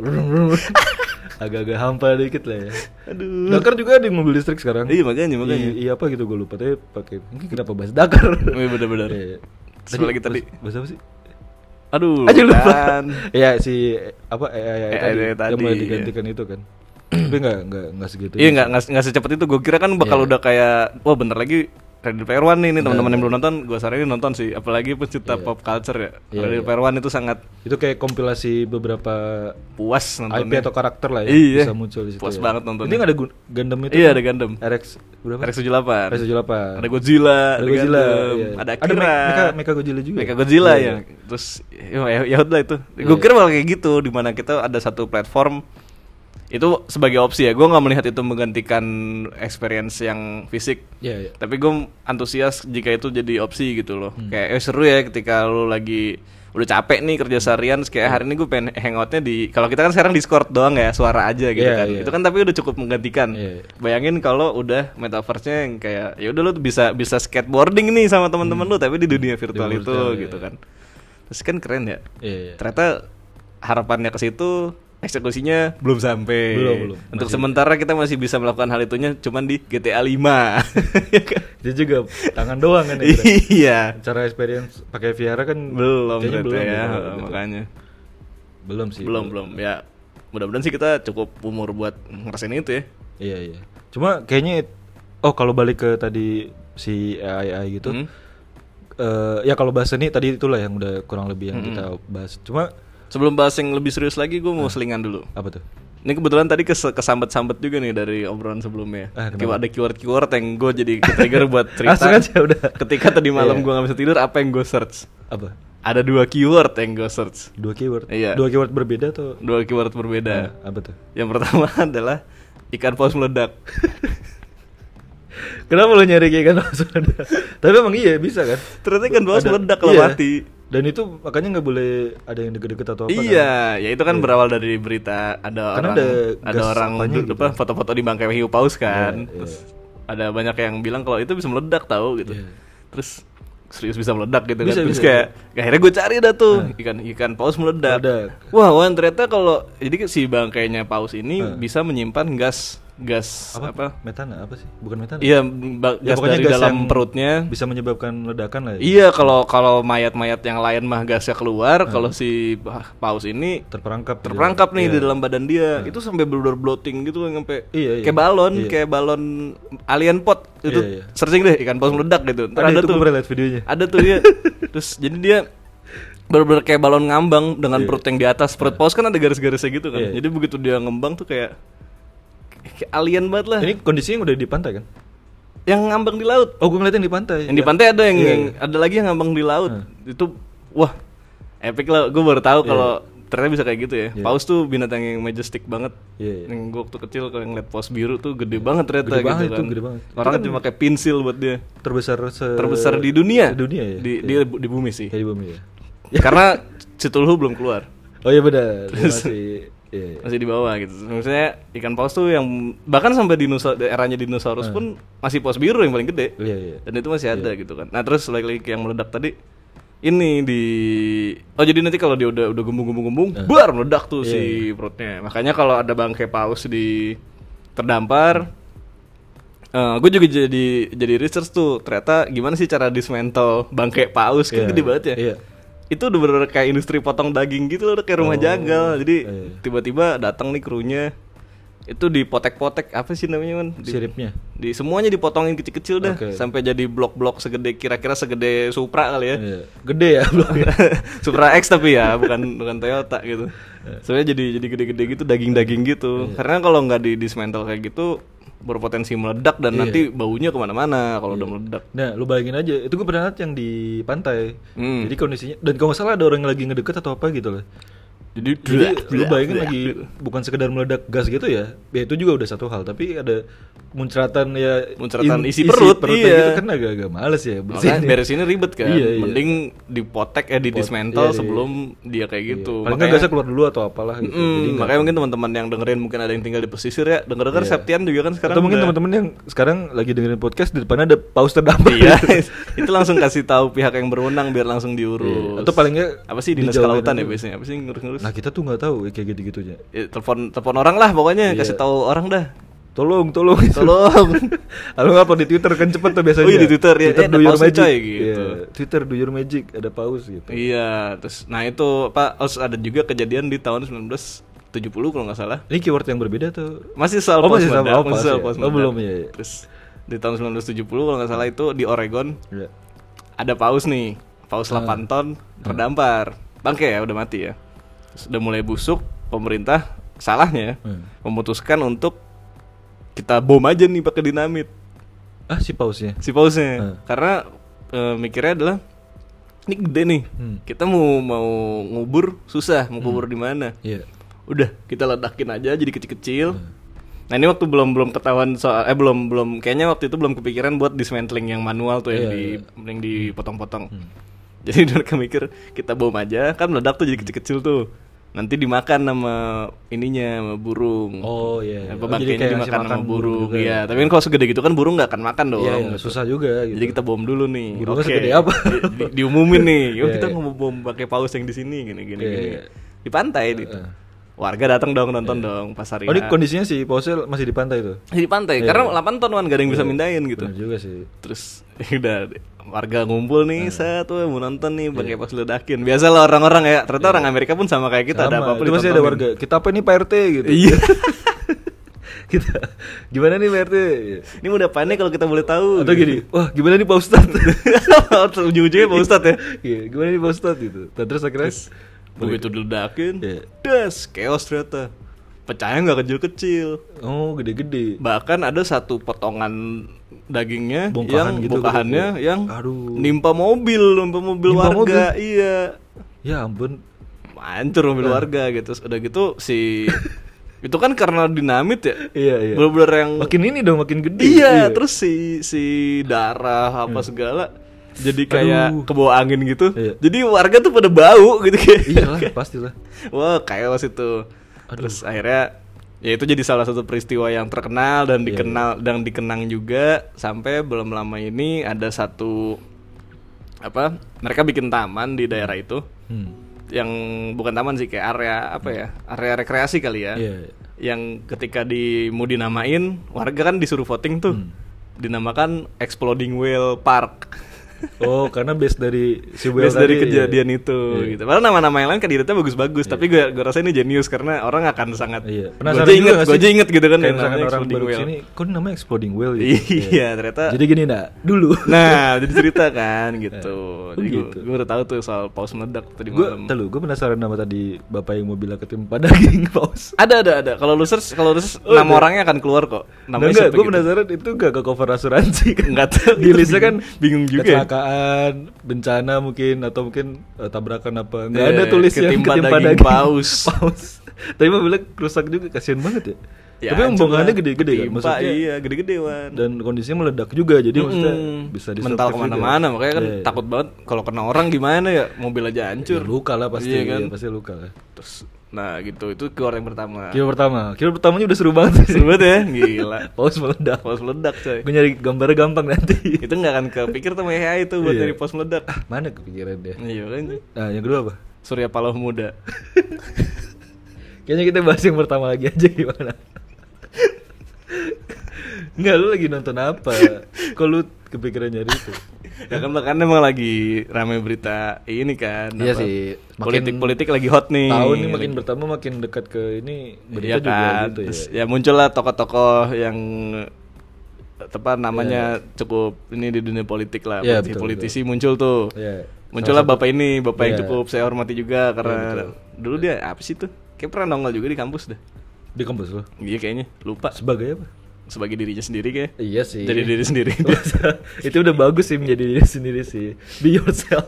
agak-agak hampa dikit lah ya. Aduh. Dakar juga ada yang mobil listrik sekarang. Iya makanya makanya. Iya, iya apa gitu gue lupa tapi pakai mungkin kenapa bahas Dakar. Iya benar-benar. Iya, iya. Terus apa lagi tadi? Bahas, bahas apa sih? Aduh. Aja lupa. kan. Iya si apa AI, AI tadi, tadi, yang mulai iya. digantikan itu kan. Tapi enggak enggak enggak segitu. ya. Iya nggak nggak nggak secepat itu. Gue kira kan bakal Iya. udah kayak wah bentar lagi Ready Player One nih, nih teman-teman yang belum nonton, gue saranin nonton sih. Apalagi pecinta Iya. pop culture ya. Ready Player One itu sangat Itu kayak kompilasi beberapa puas IP nontonnya. atau karakter lah ya Iya. bisa muncul di situ. Puas ya. banget nontonnya. Ini nggak ada gun- Gundam itu. Iya kan? ada Gundam. RX berapa? RX 78. RX 78. Ada Godzilla, Ada Godzilla, Gundam, iya. ada Ada Akira. Me- Mecha- Mecha Godzilla juga. Mecha Godzilla Iya, ya. Terus ya ya- ya udah itu. Gue kira malah kayak gitu di mana kita ada satu platform itu sebagai opsi ya. Gue nggak melihat itu menggantikan experience yang fisik. Iya, iya. Hmm. Tapi gue antusias jika itu jadi opsi gitu loh. Kayak eh, seru ya ketika lu lagi udah capek nih kerja seharian terus Hmm. kayak hari ini gue pengen hangoutnya di kalau kita kan sekarang Discord doang ya suara aja gitu Iya, kan. iya. Itu kan tapi udah cukup menggantikan. Iya, iya. Bayangin kalau udah metaverse-nya yang kayak ya udah lu tuh bisa bisa skateboarding nih sama teman-teman lu tapi di dunia virtual Hmm. Di itu virtual, iya. gitu kan. Terus kan keren ya. Iya, iya. Ternyata harapannya ke situ eksekusinya belum sampai. Belum, belum. Untuk Masih- sementara kita masih bisa melakukan hal itunya cuman di GTA 5. Ya kan? Itu juga tangan doang kan ya. kita. iya. Cara experience pakai VR kan Belum kayaknya ternyata ya, belum, heeh, gitu. makanya. belum sih. Belum, belum. Ya mudah-mudahan sih kita cukup umur buat ngerasain itu ya. Iya iya. Cuma kayaknya oh kalau balik ke tadi si AI, gitu. Hmm. eh, ya kalau bahas ini tadi itulah yang udah kurang lebih Hmm. yang kita bahas. Cuma Sebelum bahas yang lebih serius lagi, gue Ah. mau selingan dulu. apa tuh? Ini kebetulan tadi kes- kesambet-sambet juga nih dari obrolan sebelumnya. Ah, kenapa? Keyword- ada keyword-keyword yang gue jadi trigger buat cerita. Langsung aja udah. Iya. Ketika tadi malam gue gak bisa tidur, apa yang gue search? Apa? Ada dua keyword yang gue search. Dua keyword. Iya. Dua keyword berbeda atau Nah, Dua keyword berbeda. apa tuh? Yang pertama adalah ikan paus meledak. Kenapa lo nyari kayak kan langsung ada? Tapi emang iya bisa kan? Ternyata ikan paus Ada- meledak kalau iya. mati. Dan itu makanya nggak boleh ada yang deket-deket atau apa? kan? Iya, ya itu kan berawal dari berita ada orang Karena ada ada gas orang apanya du- gitu. apa, foto-foto di bangkai hiu paus kan. Iya, Terus ada banyak yang bilang kalau itu bisa meledak tahu gitu. Iya. Terus serius bisa meledak gitu Bisa, kan terus bisa. iya. kayak akhirnya gue cari dah tuh Nah. ikan ikan paus meledak Meledak. wah wan ternyata kalau jadi si bangkainya paus ini Nah. bisa menyimpan gas gas apa, apa, metana apa sih bukan metana iya ba- gas Ya, pokoknya dari gas dalam yang perutnya bisa menyebabkan ledakan lah ya iya kalau kalau mayat-mayat yang lain mah gasnya keluar Nah. kalau si pa- paus ini terperangkap terperangkap nih Iya. di dalam badan dia itu sampai blur bloating gitu kan sampai Iya, iya. kayak balon Iya. kayak balon alien pot itu Iya, iya. searching deh ikan paus meledak gitu ada, Ntar ada, itu iya. tuh gue pernah liat videonya ada tuh ya terus jadi dia bener-bener kayak balon ngambang dengan perut yang di atas perut paus kan ada garis-garisnya gitu kan Nah. Iya, iya. jadi begitu dia ngembang tuh kayak kayak alien banget lah ini kondisinya udah di pantai kan yang ngambang di laut oh gue ngeliatnya di pantai yang di pantai ada yang, Iya, yang- ada lagi yang ngambang di laut itu wah epic lah gue baru tahu kalau ternyata bisa kayak gitu ya Iya. paus tuh binatang yang majestic banget Iya, iya. yang gue waktu kecil kalau ngeliat paus biru tuh gede banget ternyata Gede gitu banget kan. itu, gede banget. orang cuma pakai pensil buat dia terbesar se- terbesar di dunia di dunia ya di, Iya. di, di bumi sih Ya, di bumi ya karena Citulhu belum keluar oh iya benar Dia masih iya, iya. masih di bawah gitu maksudnya ikan paus tuh yang bahkan sampai dinosaur eranya dinosaurus pun masih paus biru yang paling gede iya iya dan itu masih ada gitu kan nah terus lagi lagi yang meledak tadi ini di oh jadi nanti kalau dia udah udah gembung-gembung-gembung Nah. bar meledak tuh si Iya. perutnya makanya kalau ada bangkai paus di terdampar gue juga jadi jadi research tuh ternyata gimana sih cara dismantle bangkai paus kan Iya, gede banget ya iya. itu udah bener kayak industri potong daging gitu loh kayak rumah jagal jadi Oh, iya. tiba-tiba datang nih krunya itu dipotek-potek apa sih namanya man Di- siripnya di semuanya dipotongin kecil-kecil dah Oke. sampai jadi blok-blok segede kira-kira segede Supra kali ya. Iya. gede ya belum Supra X tapi ya bukan bukan Toyota gitu. Sebenarnya jadi jadi gede-gede gitu daging-daging gitu. Iya. Karena kalau nggak di dismantle kayak gitu berpotensi meledak Iya. dan nanti baunya kemana-mana kalau udah meledak. Nah, lu bayangin aja, itu gue pernah liat yang di pantai. Hmm. Jadi kondisinya, dan kalau nggak salah ada orang yang lagi ngedeket atau apa gitu lah. Jadi, Jadi lu bayangin lagi bukan sekedar meledak gas gitu ya, ya itu juga udah satu hal. Tapi ada muncratan ya Muncratan isi perut, perutnya iya. gitu kan agak-agak males ya. Makanya bersihnya. beresinnya ribet kan. Iya, iya. Mending dipotek eh di dismantle sebelum dia kayak gitu. Iya. Paling nggak gasnya keluar dulu atau apalah gitu. Mm, Jadi nggak- Iya. makanya mungkin teman-teman yang dengerin mungkin ada yang tinggal di pesisir ya. Denger-denger Septian juga kan sekarang atau mungkin udah- teman-teman yang sekarang lagi dengerin podcast di depannya ada paus terdampar. Iya. itu langsung kasih tahu pihak yang berwenang biar langsung diurus. Iya. Atau paling nggak apa sih dinas dijauhin kelautan ya dulu. biasanya? Apa sih ngurus-ngurus? Nah kita tuh nggak tahu ya, kayak gitu-gitunya. Ya, telepon telepon orang lah pokoknya Iya. kasih tahu orang dah. Tolong, tolong. Tolong. Lalu apa di Twitter kan cepet tuh Oh biasanya. iya, di Twitter, ya. Twitter Eh, ada do your paus nih, magic. coy, gitu. Iya, Twitter do your magic ada paus gitu. iya, terus nah itu Pak harus ada juga kejadian di tahun 1970 kalau nggak salah. Ini keyword yang berbeda tuh. Masih soal Oh, paus masih soal meledak, paus, soal ya? paus Oh, meledak. belum, iya, iya. Terus di tahun 1970 kalau nggak salah itu di Oregon Iya. ada paus nih paus Hmm. 8 ton terdampar bangke ya udah mati ya Terus udah mulai busuk pemerintah salahnya ya, Hmm. memutuskan untuk kita bom aja nih pakai dinamit Ah si pausnya. si pausnya Hmm. karena eh, mikirnya adalah ini gede nih Hmm. kita mau mau ngubur susah mau kubur di mana Iya. udah kita ledakin aja jadi kecil-kecil Hmm. nah ini waktu belum belum ketahuan soal eh belum belum kayaknya waktu itu belum kepikiran buat dismantling yang manual tuh yang Iya, di Hmm. yang dipotong-potong jadi mereka mikir kita bom aja kan meledak tuh jadi kecil-kecil tuh nanti dimakan sama ininya sama burung Oh iya. iya. Apa, Oh, bangkainya kayak ngasih dimakan sama burung, juga. ya. iya tapi kan kalau segede gitu kan burung nggak akan makan dong Iya, iya, susah juga gitu. jadi kita bom dulu nih. Burungnya segede apa? Di- di- diumumin nih, yuk Iya, kita iya. mau bom pakai paus yang di sini gini gini Iya, gini. iya. Di pantai di. Warga datang dong nonton dong pas hari. Oh Iya, H. ini kondisinya si pausnya masih di pantai tuh. di pantai karena 8 ton kan gak ada yang bisa mindahin gitu. Iya, Bener juga sih. Terus udah warga ngumpul nih, Iya. saya tuh mau nonton nih pakai paus ledakin. Biasalah orang-orang ya, ternyata orang Amerika pun sama kayak kita ada Iya. Sama, apa-apa itu masih ada ditontonin. warga. Kita apa ini Pak RT gitu. Iya. kita gimana nih Pak RT? Ini mau diapain nih kalau kita boleh tahu? gitu. Atau gini, wah gimana nih Pak Ustadz? Ujung-ujungnya Pak Ustadz ya. Iya, gimana nih Pak Ustadz gitu. Nah, terus akhirnya Begitu diledakin, Iya. das, chaos ternyata. Pecahnya nggak kecil-kecil. oh gede-gede. Bahkan ada satu potongan dagingnya yang Bongkahan gitu, bongkahannya gitu. yang Aduh. nimpa mobil, nimpa mobil Nimpa warga. Iya. Ya ampun. Hancur Nah. mobil warga gitu. Terus Udah gitu si itu kan karena dinamit ya. Iya, iya. Bener-bener yang Makin ini dong makin gede. iya, terus si si darah apa segala jadi kayak Iya. Aduh. kebawa angin gitu. Iya. Jadi warga tuh pada bau gitu kayak. Iyalah, pastilah. Wah, chaos itu. Terus akhirnya ya itu jadi salah satu peristiwa yang terkenal Iya, dan dikenal dan dikenang juga sampai belum lama ini ada satu apa mereka bikin taman di daerah itu Hmm. yang bukan taman sih kayak area apa ya area rekreasi kali ya Iya. yang ketika di mau dinamain warga kan disuruh voting tuh Hmm. dinamakan Exploding Whale Park Oh, karena base dari si Will Base dari tadi, kejadian iya. itu Iya. gitu. Padahal nama-nama yang lain kandidatnya bagus-bagus, tapi gue gue rasa ini jenius karena orang akan sangat Iya. Gue Penasaran aja inget, juga gak gue sih? aja inget gitu kan Kayak yang misalkan namanya orang Exploding baru Whale. sini, kok ini namanya exploding whale gitu. Iya, ternyata Jadi gini nak, dulu. Nah, jadi cerita kan gitu. Oh, Jadi gue gitu. gue udah tahu tuh soal paus meledak tadi gue malam. telu, gue penasaran nama tadi bapak yang mau bilang ketimpa daging paus. Ada ada ada. Kalau lu search kalau lu search Oh, nama ada. orangnya akan keluar kok. Nah, Namanya enggak, siapa gue gitu. penasaran itu gak ke cover asuransi kan? Nggak tahu, Di itu listnya kan bingung- bingung juga ya. Kecelakaan, bencana mungkin atau mungkin eh, tabrakan apa? Iya, Enggak ada tulis yang ketimpa ketimpa daging daging, paus. paus. Tapi mau bilang rusak juga, kasihan banget ya. Ya, Tapi emang hancur bongkahannya lah. gede-gede kan? Ketimpa, Maksudnya iya, gede-gede wan. dan kondisinya meledak juga jadi maksudnya Mm-mm. bisa mental disruptif kemana-mana juga. makanya kan Iya, iya. takut banget kalau kena orang gimana ya mobil aja hancur Ya, luka lah pasti Iya kan? iya, pasti luka lah terus nah gitu itu keluar yang pertama kilo pertama kilo pertamanya udah seru banget seru banget iya. ya gila paus meledak pos meledak coy gue nyari gambarnya gampang nanti itu nggak akan kepikir tuh ya itu buat Iya. dari pos meledak ah, mana kepikiran deh iya kan nah yang kedua apa Surya Paloh muda kayaknya kita bahas yang pertama lagi aja gimana Enggak, lu lagi nonton apa? Kok lu kepikiran nyari itu? ya kan bahkan emang lagi rame berita ini kan Iya apa, sih, makin- politik-politik lagi hot nih Tahun ini makin Lagi- bertambah makin dekat ke ini Iya berita juga kan, gitu ya. Terus ya. muncullah tokoh-tokoh yang eh, apa namanya cukup ini di dunia politik lah, Iya, politisi, betul, politisi muncul tuh, Iya. muncullah bapak ini, bapak yang Iya. cukup saya hormati juga karena dulu dia apa sih tuh, kayak pernah nongol juga di kampus deh, Di kampus lo? iya kayaknya lupa Sebagai apa? sebagai dirinya sendiri kayak, Iya sih. jadi diri sendiri. itu udah bagus sih menjadi diri sendiri sih. Be yourself.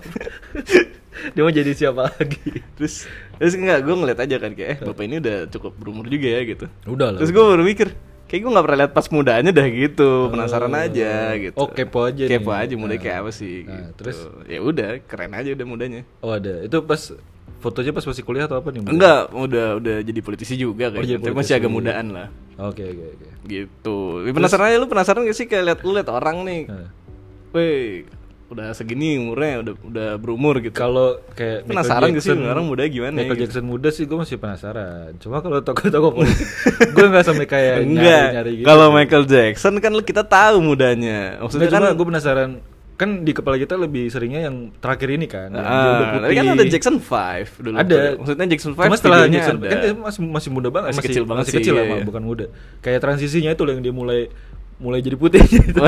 Dia mau jadi siapa lagi? terus terus enggak gue ngeliat aja kan kayak eh bapak ini udah cukup berumur juga ya gitu. Udah Terus gue baru mikir Kayak gue gak pernah lihat pas mudanya dah gitu, penasaran aja gitu. oh, kepo aja nih. Kepo aja muda Nah. kayak apa sih? Nah, gitu. terus? ya udah, keren aja udah mudanya. Oh ada. Itu pas fotonya pas masih kuliah atau apa nih? Enggak, udah udah jadi politisi juga Oh, kayaknya. jadi Tapi politisi. masih agak mudaan lah. Oke oke oke. Gitu. Ya, penasaran aja lu penasaran gak sih kayak lihat lu lihat orang nih. Nah, Weh, udah segini umurnya udah udah berumur gitu. Kalau kayak Michael Penasaran gak sih Jackson- orang muda gimana Michael gitu? Jackson muda sih gue masih penasaran. Cuma kalau tokoh-tokoh politik gue nggak sampai kayak Eh, Enggak. nyari-nyari gitu. Kalau Michael Jackson kan lu kita tahu mudanya. Maksudnya Nggak, cuma kan gue penasaran kan di kepala kita lebih seringnya yang terakhir ini kan. yang dia udah Ah, tapi kan putih. ada Jackson 5 dulu. ada. tuh. Maksudnya Jackson 5 Cuma setelah videonya Jackson ada. kan dia masih masih muda banget, Masih kecil banget masih sih, kecil iya, lah, iya. bukan muda. Kayak transisinya itu loh yang dia mulai mulai jadi putih gitu.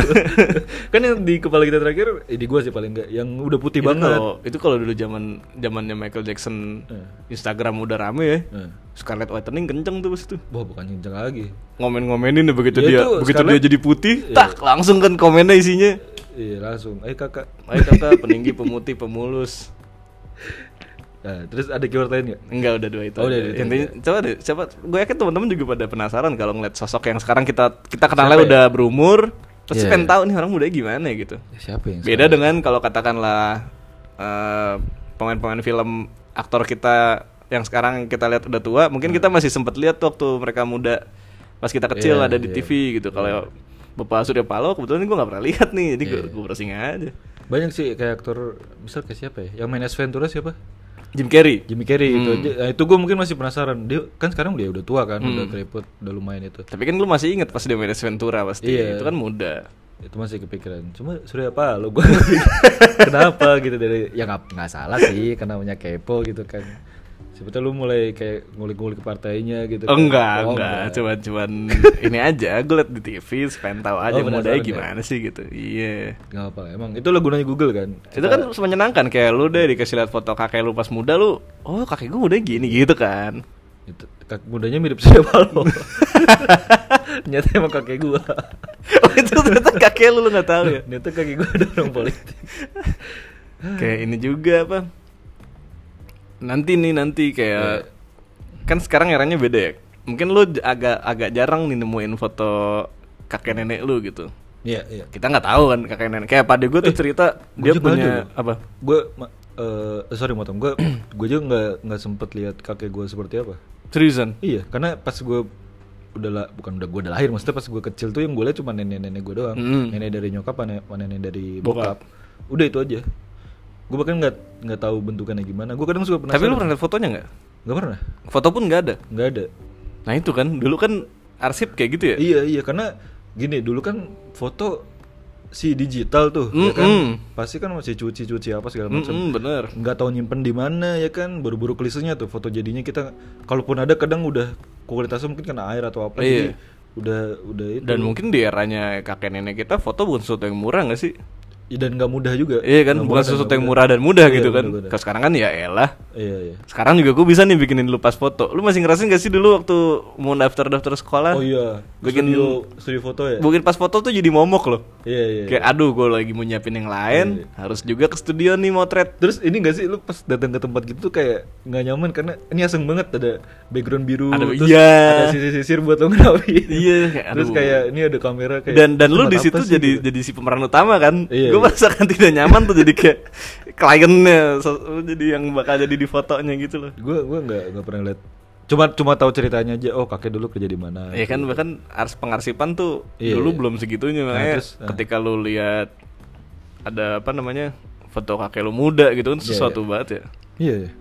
kan yang di kepala kita terakhir eh, di gua sih paling enggak yang udah putih Itu banget. kalau- itu kalau dulu zaman zamannya Michael Jackson Eh. Instagram udah rame ya. Eh. Scarlett Whitening kenceng tuh pas itu. Wah, bukan cincang lagi. Ngomen-ngomenin deh begitu Iya, dia itu begitu Scarlett- dia jadi putih, tak langsung kan komennya isinya. Iya, langsung. Eh, Kakak. Ayo kata peninggi pemutih pemulus. Nah, terus ada keyword lain enggak? Enggak udah dua itu. Oh, udah aja. dua itu Intinya coba deh, coba gue yakin teman-teman juga pada penasaran kalau ngeliat sosok yang sekarang kita kita kenalnya Siapa ya? udah berumur, pasti Iya, pengen iya. tahu nih orang muda gimana ya gitu. Siapa yang Beda dengan kalau katakanlah eh, pemain-pemain film aktor kita yang sekarang kita lihat udah tua, mungkin kita masih sempat lihat tuh waktu mereka muda pas kita kecil Hmm. Iya, ada di iya. TV gitu. Kalau Bapak Surya Paloh kebetulan gue nggak pernah lihat nih, jadi gue Iya. gue browsing aja. Banyak sih kayak aktor misal kayak siapa ya? Yang main S Ventura siapa? Jim Carrey. Jimmy Carrey itu Hmm. aja. Nah, itu gue mungkin masih penasaran. Dia kan sekarang dia udah tua kan, Hmm. udah keriput, udah lumayan itu. Tapi kan lu masih inget pas dia main Ace Ventura pasti, Iya. itu kan muda. itu masih kepikiran cuma Surya Paloh gue kenapa gitu dari ya nggak nggak salah sih karena punya kepo gitu kan sebetulnya lu mulai kayak ngulik-ngulik ke partainya gitu Oh, kan. enggak, Oh, enggak, cuman cuman ini aja, gue liat di TV, pengen tahu aja Oh, mudanya penasaran ya? gimana sih gitu. Iya. nggak apa emang itu lah gunanya Google kan Itu kan menyenangkan kayak lu deh dikasih lihat foto kakek lu pas muda lu, oh kakek gue muda gini gitu kan. itu, kak, mudanya mirip Surya Paloh ternyata emang kakek gua oh, itu ternyata kakek lu lu nggak tahu ya. ternyata kakek gua ada orang politik Kayak ini juga apa? Nanti nih nanti kayak Iya. kan sekarang eranya beda ya. Mungkin lu j- agak agak jarang nih nemuin foto kakek nenek lu gitu. iya iya Kita nggak tahu kan kakek nenek. Kayak pada gue tuh cerita Eh, gua dia juga punya ada. apa? gue eh, sorry motong gue gue juga nggak nggak sempet lihat kakek gua seperti apa Seriusan? Iya, karena pas gue udah lah, bukan udah gue udah lahir, maksudnya pas gue kecil tuh yang gue lihat cuma nenek-nenek gue doang, Mm. nenek dari nyokap, nenek, nenek dari Bokap. bokap. Udah itu aja. gue bahkan nggak nggak tahu bentukannya gimana gue kadang suka penasaran Tapi lu pernah lihat fotonya nggak? nggak pernah Foto pun nggak ada. nggak ada Nah itu kan dulu kan arsip kayak gitu ya. iya iya karena gini dulu kan foto si digital tuh ya kan Mm-mm. pasti kan masih cuci-cuci apa segala macam Mm-mm, bener. nggak tahu nyimpen di mana ya kan buru-buru klisenya tuh foto jadinya kita kalaupun ada kadang udah kualitasnya mungkin kena air atau apa Iya. jadi udah udah itu Dan mungkin di eranya kakek nenek kita foto bukan sesuatu yang murah nggak sih? Ya, dan nggak mudah juga Iya kan Nggak bukan mudah, sesuatu nggak yang murah dan mudah Iya, gitu kan. bener-bener. Kalau sekarang kan ya elah. iya iya Sekarang juga gue bisa nih bikinin lu pas foto. Lu masih ngerasain gak sih dulu waktu mau daftar daftar sekolah? oh iya Bikin- studio studio foto ya Bikin pas foto tuh jadi momok loh. iya iya Kayak aduh gue lagi mau nyiapin yang lain, harus juga ke studio nih motret. Terus ini gak sih lu pas datang ke tempat gitu tuh kayak nggak nyaman karena ini asing banget ada background biru Ada- terus iya. ada sisir-sisir buat lo ngerapiin. Iya, kayak, Terus aduh. kayak ini ada kamera kayak dan dan lu tempat di apa situ sih jadi gitu. jadi si pemeran utama kan Iya, gue iya. merasakan tidak nyaman tuh jadi kayak kliennya so- lu jadi yang bakal jadi di fotonya gitu loh gua gua nggak nggak pernah lihat. Cuma cuma tahu ceritanya aja. Oh, kakek dulu kerja di mana. ya kan bahkan ars pengarsipan tuh Iya, dulu iya. belum segitunya makanya terus, nah. ketika lu lihat ada apa namanya foto kakek lu muda gitu kan Iya, sesuatu banget ya Iya, iya.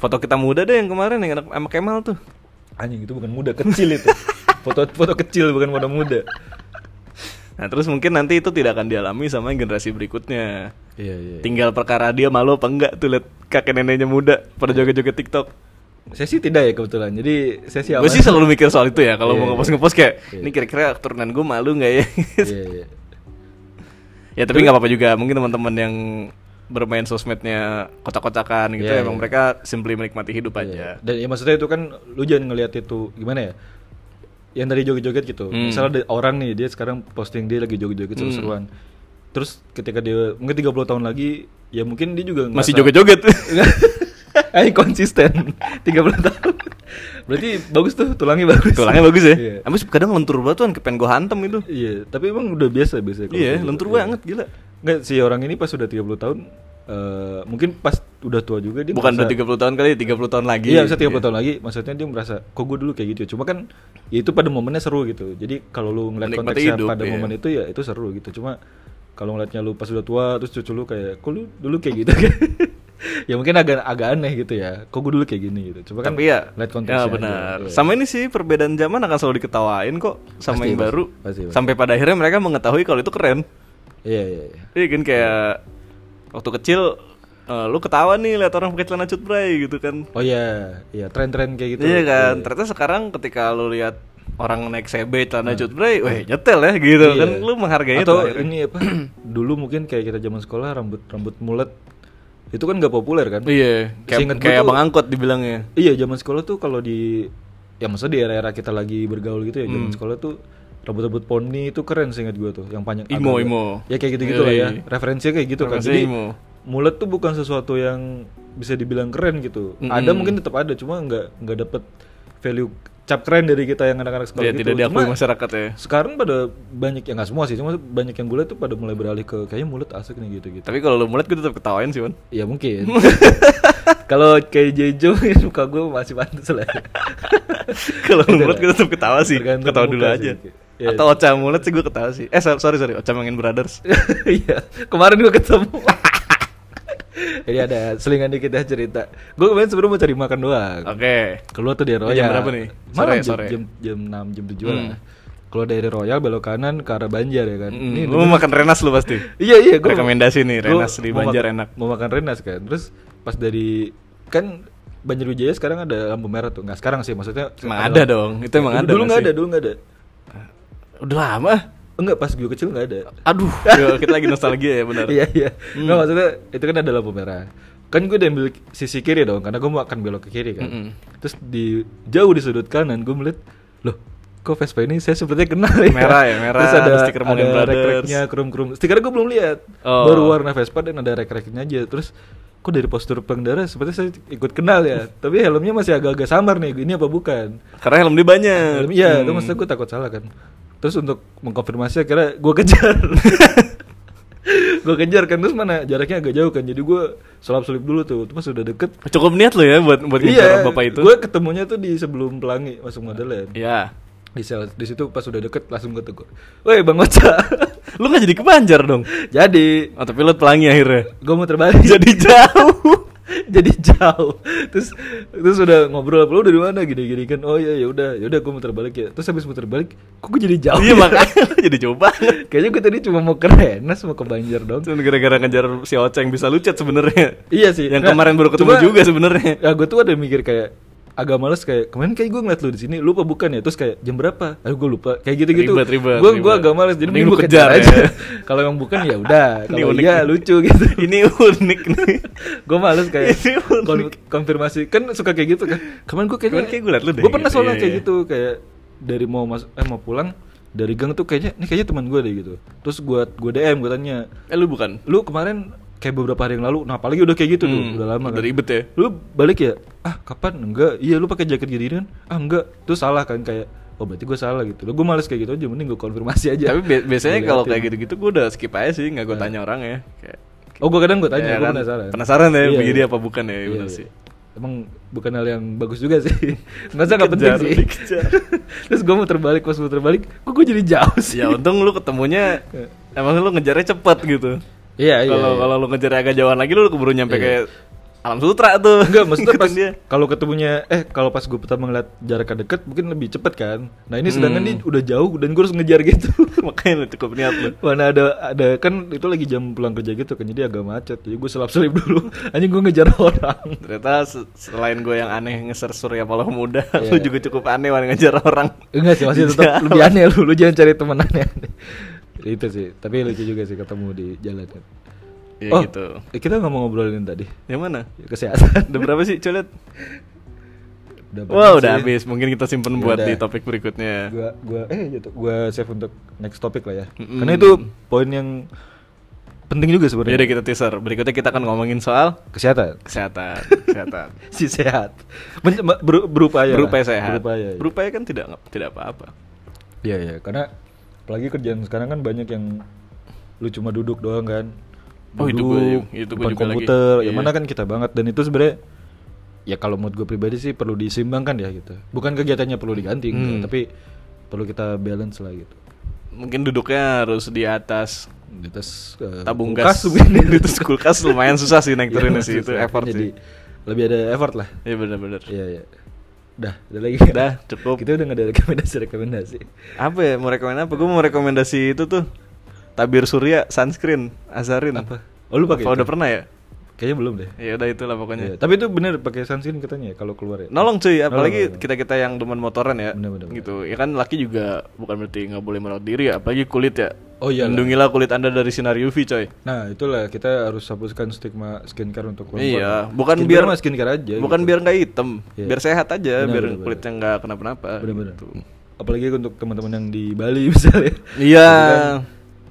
foto kita muda deh yang kemarin yang anak- sama Kemal tuh Anjing itu bukan muda, kecil itu. foto foto kecil bukan foto muda. nah terus mungkin nanti itu tidak akan dialami sama generasi berikutnya Iya, iya. tinggal perkara dia malu apa enggak tuh lihat kakek neneknya muda pada joget-joget TikTok Saya sih tidak ya kebetulan. Jadi saya sih Gue aman. sih selalu mikir soal itu ya kalau Iya, mau iya. ngepost ngepost kayak Iya. ini kira-kira turunan gue malu nggak ya? Iya, iya. ya tapi nggak apa-apa juga mungkin teman-teman yang bermain sosmednya kocak-kocakan gitu Iya, emang iya. mereka simply menikmati hidup aja. Dan ya maksudnya itu kan lu jangan ngelihat itu gimana ya? Yang tadi joget-joget gitu. Hmm. Misalnya ada orang nih dia sekarang posting dia lagi joget-joget Hmm. seru-seruan. Terus ketika dia mungkin 30 tahun lagi ya mungkin dia juga Masih ngerasa- joget-joget. Eh konsisten 30 tahun. Berarti bagus tuh tulangnya bagus. Tulangnya bagus ya. Iya. Habis kadang lentur banget tuh kan, kepen gue hantem itu. Iya, tapi emang udah biasa biasa kalau Iya, kayak gitu. lentur Iya. banget gila. Nggak, si orang ini pas udah 30 tahun eh mungkin pas udah tua juga dia Bukan merasa- udah 30 tahun kali, 30 tahun lagi. Iya bisa 30 tahun lagi Maksudnya dia merasa Kok gue dulu kayak gitu ya?" Cuma kan ya itu pada momennya seru gitu Jadi kalau lu ngeliat Menikmati konteksnya hidup, pada iya. momen itu ya itu seru gitu Cuma kalau ngeliatnya lu pas udah tua Terus cucu lu kayak Kok lu dulu kayak gitu Ya mungkin agak agak aneh gitu ya Kok gue dulu kayak gini gitu Cuma kan Tapi ya, lihat ya konteksnya aja, benar. iya. Sama ini sih perbedaan zaman akan selalu diketawain kok sama Pasti, yang pasti, baru. pasti, pasti. Sampai pada akhirnya mereka mengetahui kalau itu keren. Iya iya iya Iya kan kayak waktu kecil eh, lu ketawa nih lihat orang pakai celana cut bray gitu kan. Oh iya Iya tren-tren kayak gitu iya kan. Ternyata sekarang ketika lu lihat orang naik CB celana cut bray, weh nyetel ya gitu Iya. kan lu menghargai itu. Atau akhirnya. ini apa Dulu mungkin kayak kita zaman sekolah Rambut rambut mulet Itu kan gak populer kan Iya, kayak Seingat gua kayak tuh- Bang Angkot dibilangnya. Iya zaman sekolah tuh kalau di ya maksudnya di era-era kita lagi bergaul gitu ya Hmm. zaman sekolah tuh rambut-rambut poni itu keren sih ingat gue tuh yang panjang Imo, agak- imo. ya kayak gitu-gitu lah ya Yoi. referensinya kayak gitu kan Referensinya jadi imo. mulet tuh bukan sesuatu yang bisa dibilang keren gitu Mm-mm. ada mungkin tetap ada cuma nggak nggak dapet value cap keren dari kita yang anak-anak sekolah Iya, gitu tidak diakui Cuma masyarakat ya. sekarang pada banyak yang nggak semua sih cuma banyak yang gue liat tuh pada mulai beralih ke kayaknya mulet asik nih gitu-gitu Gitu. Tapi kalau lu mulet gue tetap ketawain sih, Wan. Ya mungkin. Kalau kayak Jejo muka gue masih pantas lah. Gitu kalau lu mulet gue tetap ketawa sih. Tergantung Ketawa muka dulu sih. aja. Iya. Atau Ocha mulet sih gue ketawa sih. Eh sorry sorry, Ocha Mangin Brothers. Iya, kemarin gue ketemu. Jadi ada selingan dikit ya cerita. Gue kemarin sebenarnya mau cari makan doang. Oke. Keluar tuh dari Oh. Ini Royal. jam berapa nih? Malam Sore, jam, sore. jam jam 6 jam 7 Hmm. lah. Keluar dari Royal belok kanan ke arah Banjar ya kan. Mm, Ini lu mau makan Renas lu pasti. Iya iya gua Rekomendasi nih, gua Renas di mau Banjar makan- enak. Mau makan Renas kan. Terus pas dari kan Banjarwijaya sekarang ada lampu merah tuh. Nggak sekarang sih maksudnya. Emang ada dong, itu emang Dulu- ada Dulu nggak nggak sih? ada, dulu nggak ada. Udah lama. Enggak pas gue kecil nggak ada. Aduh, yo, kita lagi nostalgia ya benar. Iya iya. Nggak maksudnya itu kan ada lampu merah. Kan gue udah ambil sisi kiri dong karena gue mau akan belok ke kiri kan. Mm-mm. Terus di jauh di sudut kanan gue melihat loh kok Vespa ini saya sepertinya kenal ya. Merah ya, merah, Terus ada, ada stiker Morgan ada Brothers. rek-reknya krum-krum. Stikernya gue belum lihat. Oh. Baru warna Vespa dan ada rek-reknya aja. Terus kok dari postur pengendara sepertinya saya ikut kenal ya. Tapi helmnya masih agak-agak samar nih. Ini apa bukan? Karena helm dia banyak. Dalam- Iya, itu maksudnya gue takut salah kan. Terus untuk mengkonfirmasi akhirnya gue kejar. gue kejar kan terus mana jaraknya agak jauh kan. Jadi gue sulap-sulip dulu tuh. Terus sudah deket. Iya, Cukup niat lo ya buat buat ngejar bapak itu. gue ketemunya tuh di sebelum pelangi masuk Madeleine. Iya. ya. di sel di situ pas udah deket langsung gue tegur woi bang Oca Lu nggak jadi kebanjar dong. jadi Oh, tapi lu pelangi akhirnya. gue mau terbalik Jadi jauh. jadi jauh terus terus udah ngobrol lu dari mana gini gini kan oh ya ya udah ya udah gue muter balik ya terus habis muter balik kok gue jadi jauh Iya ya? makanya lu jadi jauh banget. kayaknya gue tadi cuma mau ke Rennes mau ke Banjar dong Cuman gara-gara ngejar si Oceng bisa lucet sebenarnya. iya sih Yang Nggak, kemarin baru ketemu cuma- juga sebenarnya. ya gue tuh ada mikir kayak agak males kayak kemarin kayak gue ngeliat lu di sini lupa bukan ya terus kayak jam berapa aduh gue lupa kayak gitu gitu Ribet, ribet, gue gue ribet. agak males jadi Mending mending lu gue kejar, kejar aja ya. kalau yang bukan ya udah Ini kalau unik iya nih. lucu gitu Ini unik nih. gue males kayak Ini unik. kon- konfirmasi kan suka kayak gitu kan kemarin gue kayaknya Kemarin kayak gue liat lu deh, gue pernah gitu. soalnya Iya, kayak iya. gitu kayak dari mau mas eh mau pulang dari gang tuh kayaknya ini kayaknya teman gue deh gitu terus gue gue dm gue tanya Eh lu bukan? lu kemarin kayak beberapa hari yang lalu nah apalagi udah kayak gitu tuh Hmm, udah lama kan udah ribet ya. lu balik ya ah kapan enggak iya lu pakai jaket gini kan ah enggak terus salah kan kayak oh berarti gue salah gitu lo gue males kayak gitu aja mending gue konfirmasi aja Tapi bi- biasanya Gua kalau liatin. kayak gitu- gitu-gitu gue udah skip aja sih, nggak gue tanya orang ya. Kayak oh gue kadang gue Ya Iya. tanya gue kan, penasaran penasaran ya, Iya, begini iya. apa bukan ya, Iya, bener iya. sih. emang bukan hal yang bagus juga sih masa nggak penting Dikejar, sih dikejar. terus gue mau terbalik pas mau terbalik kok gue jadi jauh sih Ya untung lu ketemunya emang lu ngejarnya cepet gitu. iya iya Kalau iya. kalau lu ngejarnya agak jauhan lagi lu keburu nyampe Iya. kayak alam sutra tuh. Enggak, maksudnya pas Ngikutin dia. kalau ketemunya eh kalau pas gue pertama ngeliat jarak deket mungkin lebih cepet kan. Nah ini sedangkan Hmm. ini udah jauh dan gue harus ngejar gitu. makanya lu cukup niat lu. Mana ada ada kan itu lagi jam pulang kerja gitu kan jadi agak macet. Jadi gue selap selip dulu. Anjing gue ngejar orang. Ternyata se- selain gue yang aneh ngeser Surya Paloh muda, Iya. lu juga cukup aneh wan ngejar orang. Enggak sih masih tetap lebih aneh lu. Lu jangan cari temen aneh. itu sih. Tapi lucu juga sih ketemu di jalan. kan. Ya gitu. eh, Kita nggak mau ngobrolin tadi Yang mana? kesehatan. Udah berapa sih, Colet? Udah Wah, banget udah sih. habis. Mungkin kita simpen buat Yaudah. di topik berikutnya. gua gua eh gitu gua save untuk next topic lah ya Mm-mm. karena itu poin yang penting juga Ya sebenarnya kita teaser. Berikutnya kita akan ngomongin soal kesehatan kesehatan, kesehatan. si sehat Men- me- beru- berupaya lah. berupaya sehat. berupaya ya. Berupaya kan tidak tidak apa-apa. Iya, iya. karena apalagi kerjaan sekarang kan banyak yang lu cuma duduk doang kan Oh, itu gua- itu gua juga depan lagi. komputer yang Iya. mana kan kita banget dan itu sebenarnya ya kalau mood gue pribadi sih perlu disimbangkan ya gitu bukan kegiatannya perlu diganti enggak, Hmm. tapi perlu kita balance lah gitu Mungkin duduknya harus di atas di atas eh, tabung gas. kulkas mungkin. di atas kulkas lumayan Iya, susah sih naik turunnya sih itu maksud saya, effort Iya, jadi sih. lebih ada effort lah Iya benar-benar. iya iya dah udah lagi Dah, cukup. kita udah nggak ada rekomendasi rekomendasi Apa ya mau rekomendasi apa? Gue mau rekomendasi itu tuh. Tabir Surya sunscreen Azarin. Apa? Oh, lu pakai Apa itu? udah pernah ya? kayaknya belum deh Ya udah itulah pokoknya. Iya, tapi itu bener pakai sunscreen katanya ya, kalau keluar ya iya. Nolong iya. cuy, apalagi nolong. kita-kita yang demen motoran ya. Bener, bener, bener. Gitu. Ya kan laki juga bukan berarti nggak boleh merawat diri ya, apalagi kulit ya. Oh, iyalah. Lindungilah kulit Anda dari sinar UV coy. nah itulah kita harus hapuskan stigma skincare untuk perempuan Iya, bukan Skincare biar mah skincare aja Bukan biar nggak hitam, Iya. biar sehat aja, Benar, biar benar, kulitnya nggak kenapa-napa. Iya, bener-bener gitu. apalagi untuk teman-teman yang di Bali misalnya Iya.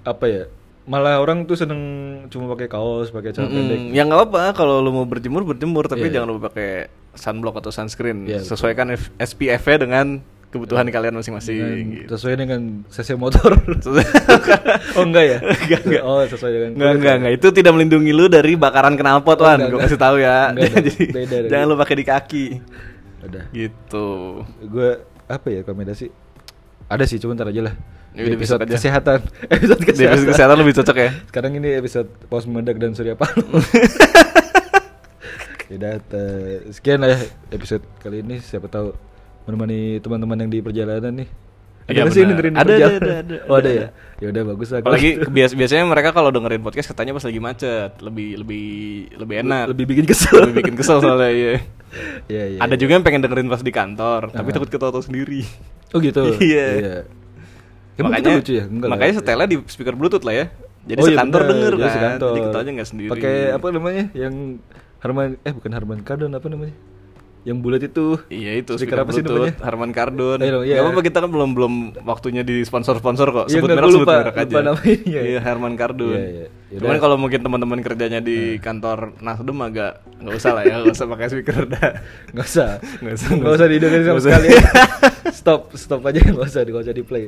apa ya malah orang tuh seneng cuma pakai kaos pakai celana Mm-mm. pendek Ya nggak apa kalau lu mau berjemur berjemur, tapi Iya, jangan lupa pakai sunblock atau sunscreen. Iya, betul. Iya. Sesuaikan F- SPF-nya dengan kebutuhan kalian masing-masing. dengan, gitu. sesuai dengan cc motor oh enggak ya Enggak, enggak. oh sesuai dengan Enggak, enggak, enggak. Itu tidak melindungi lu dari bakaran knalpot, Oh, Wan. enggak, Gue enggak. kasih tahu ya. Enggak, enggak. Jadi Beda dari- jangan lu pakai di kaki. udah Gitu. gue apa ya rekomendasi ada sih cuma ntar aja lah Ya Di udah, besok episode aja. kesehatan episode Di kesehatan. episode kesehatan lebih cocok ya. sekarang ini episode pos mendadak dan surya paloh Yaudah, te- sekian lah ya episode kali ini siapa tahu menemani teman-teman yang di perjalanan nih Iya, ada nggak sih yang benar. dengerin di Ada, ada, perjalanan? ada, ada, oh ada, ada, ya ya udah bagus lah kalau Apalagi gitu. bias biasanya mereka kalau dengerin podcast katanya pas lagi macet, lebih lebih lebih enak. lebih bikin kesel Lebih bikin kesel soalnya iya. Iya, iya, Ada iya. juga yang pengen dengerin pas di kantor, tapi Ah. takut ketawa sendiri. Oh gitu. Iya. Emang kita lucu ya? Enggak lah. makanya setelnya di speaker Bluetooth lah ya. Jadi Oh iya, sekantor bener. denger Jadi kan. sekantor. Jadi ketawanya nggak sendiri. Pakai apa namanya? Yang Harman eh bukan Harman Kardon apa namanya? Yang bulat itu. Iya itu Speaker speaker apa sih Bluetooth, namanya? Harman Kardon. Ayo, iya. Gak apa-apa kita kan belum belum waktunya di sponsor-sponsor kok. Iya, Sebut enggak, merek gua sebut lupa- merek aja. lupa namanya, iya. Iya Harman Kardon. Iya, iya. Yaudah. Nah. Cuman kalau mungkin teman-teman kerjanya di kantor Nasdem agak nggak usah lah ya, nggak usah pakai speaker dah. Enggak usah. Nggak Enggak usah, usah. nggak Enggak usah usah. didengerin sama Nggak usah. sekali. stop, stop aja enggak usah, enggak usah di-play.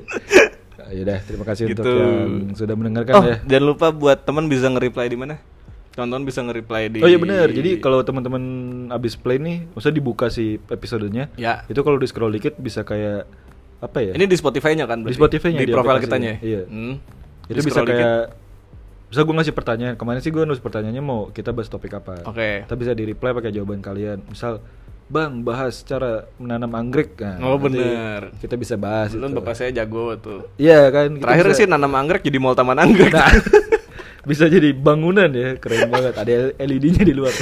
Nah, yaudah, terima kasih untuk Gitu. yang sudah mendengarkan oh, ya. jangan lupa buat teman bisa nge-reply di mana? Tonton bisa nge-reply di Oh iya benar. Jadi kalau teman-teman abis play nih, maksudnya dibuka si episodenya, Ya. itu kalau di scroll dikit bisa kayak apa ya? Ini di Spotify-nya kan di berarti? Spotify-nya Di, profil aplikasinya. kitanya. Iya. Hmm. Di Itu bisa scroll dikit. kayak bisa gue ngasih pertanyaan. Kemarin sih gue nulis pertanyaannya mau kita bahas topik apa. Oke. Kita bisa di reply pakai jawaban kalian. Misal Bang bahas cara menanam anggrek Nah, Oh, nanti bener. Kita bisa bahas Kebetulan itu. bapak saya jago tuh. Iya kan. kita Terakhir bisa- sih nanam anggrek jadi mall taman anggrek. Nah, bisa jadi bangunan ya, keren banget. Ada LED-nya di luar.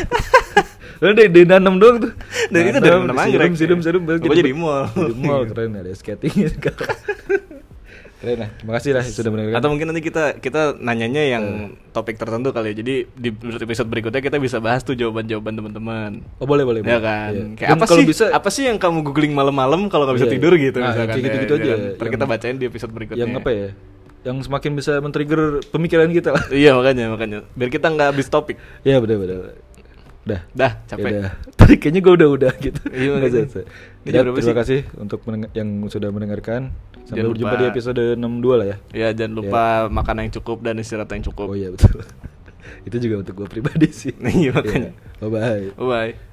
Lalu dari, dari nanam doang tuh. Dari itu dari nanam anggrek. ya. Oh, Sidum, sidum, Gua jadi mall. Jadi mall keren ada skating. keren lah. Terima kasih lah sudah mendengarkan. Atau mungkin nanti kita kita nanyanya yang Hmm. topik tertentu kali ya. Jadi di episode berikutnya kita bisa bahas tuh jawaban-jawaban teman-teman. Oh boleh boleh. Ya boleh. kan. Iya. Kayak Dan apa kalau sih? Bisa, apa sih yang kamu googling malam-malam kalau nggak bisa Iya. tidur gitu Nah, misalkan. kayak gitu-gitu ya, ya aja. kan? Ntar Yang- kita bacain di episode berikutnya. yang apa ya? Yang semakin bisa men-trigger pemikiran kita lah. Iya makanya makanya. Biar kita nggak habis topik. Iya bener bener. Iya Dah. Dah capek. Yaudah. Tadi kayaknya gue udah udah gitu. Iya, Nggak makanya. selesai. Ini Ya, jam berapa terima sih? kasih untuk mendengar- yang sudah mendengarkan. Sampai Jangan berjumpa lupa. di episode 62 lah ya. Ya jangan lupa makan yang cukup dan istirahat yang Oh cukup. iya betul. Itu juga untuk gue pribadi sih. Iya, makanya. Bye bye. Bye.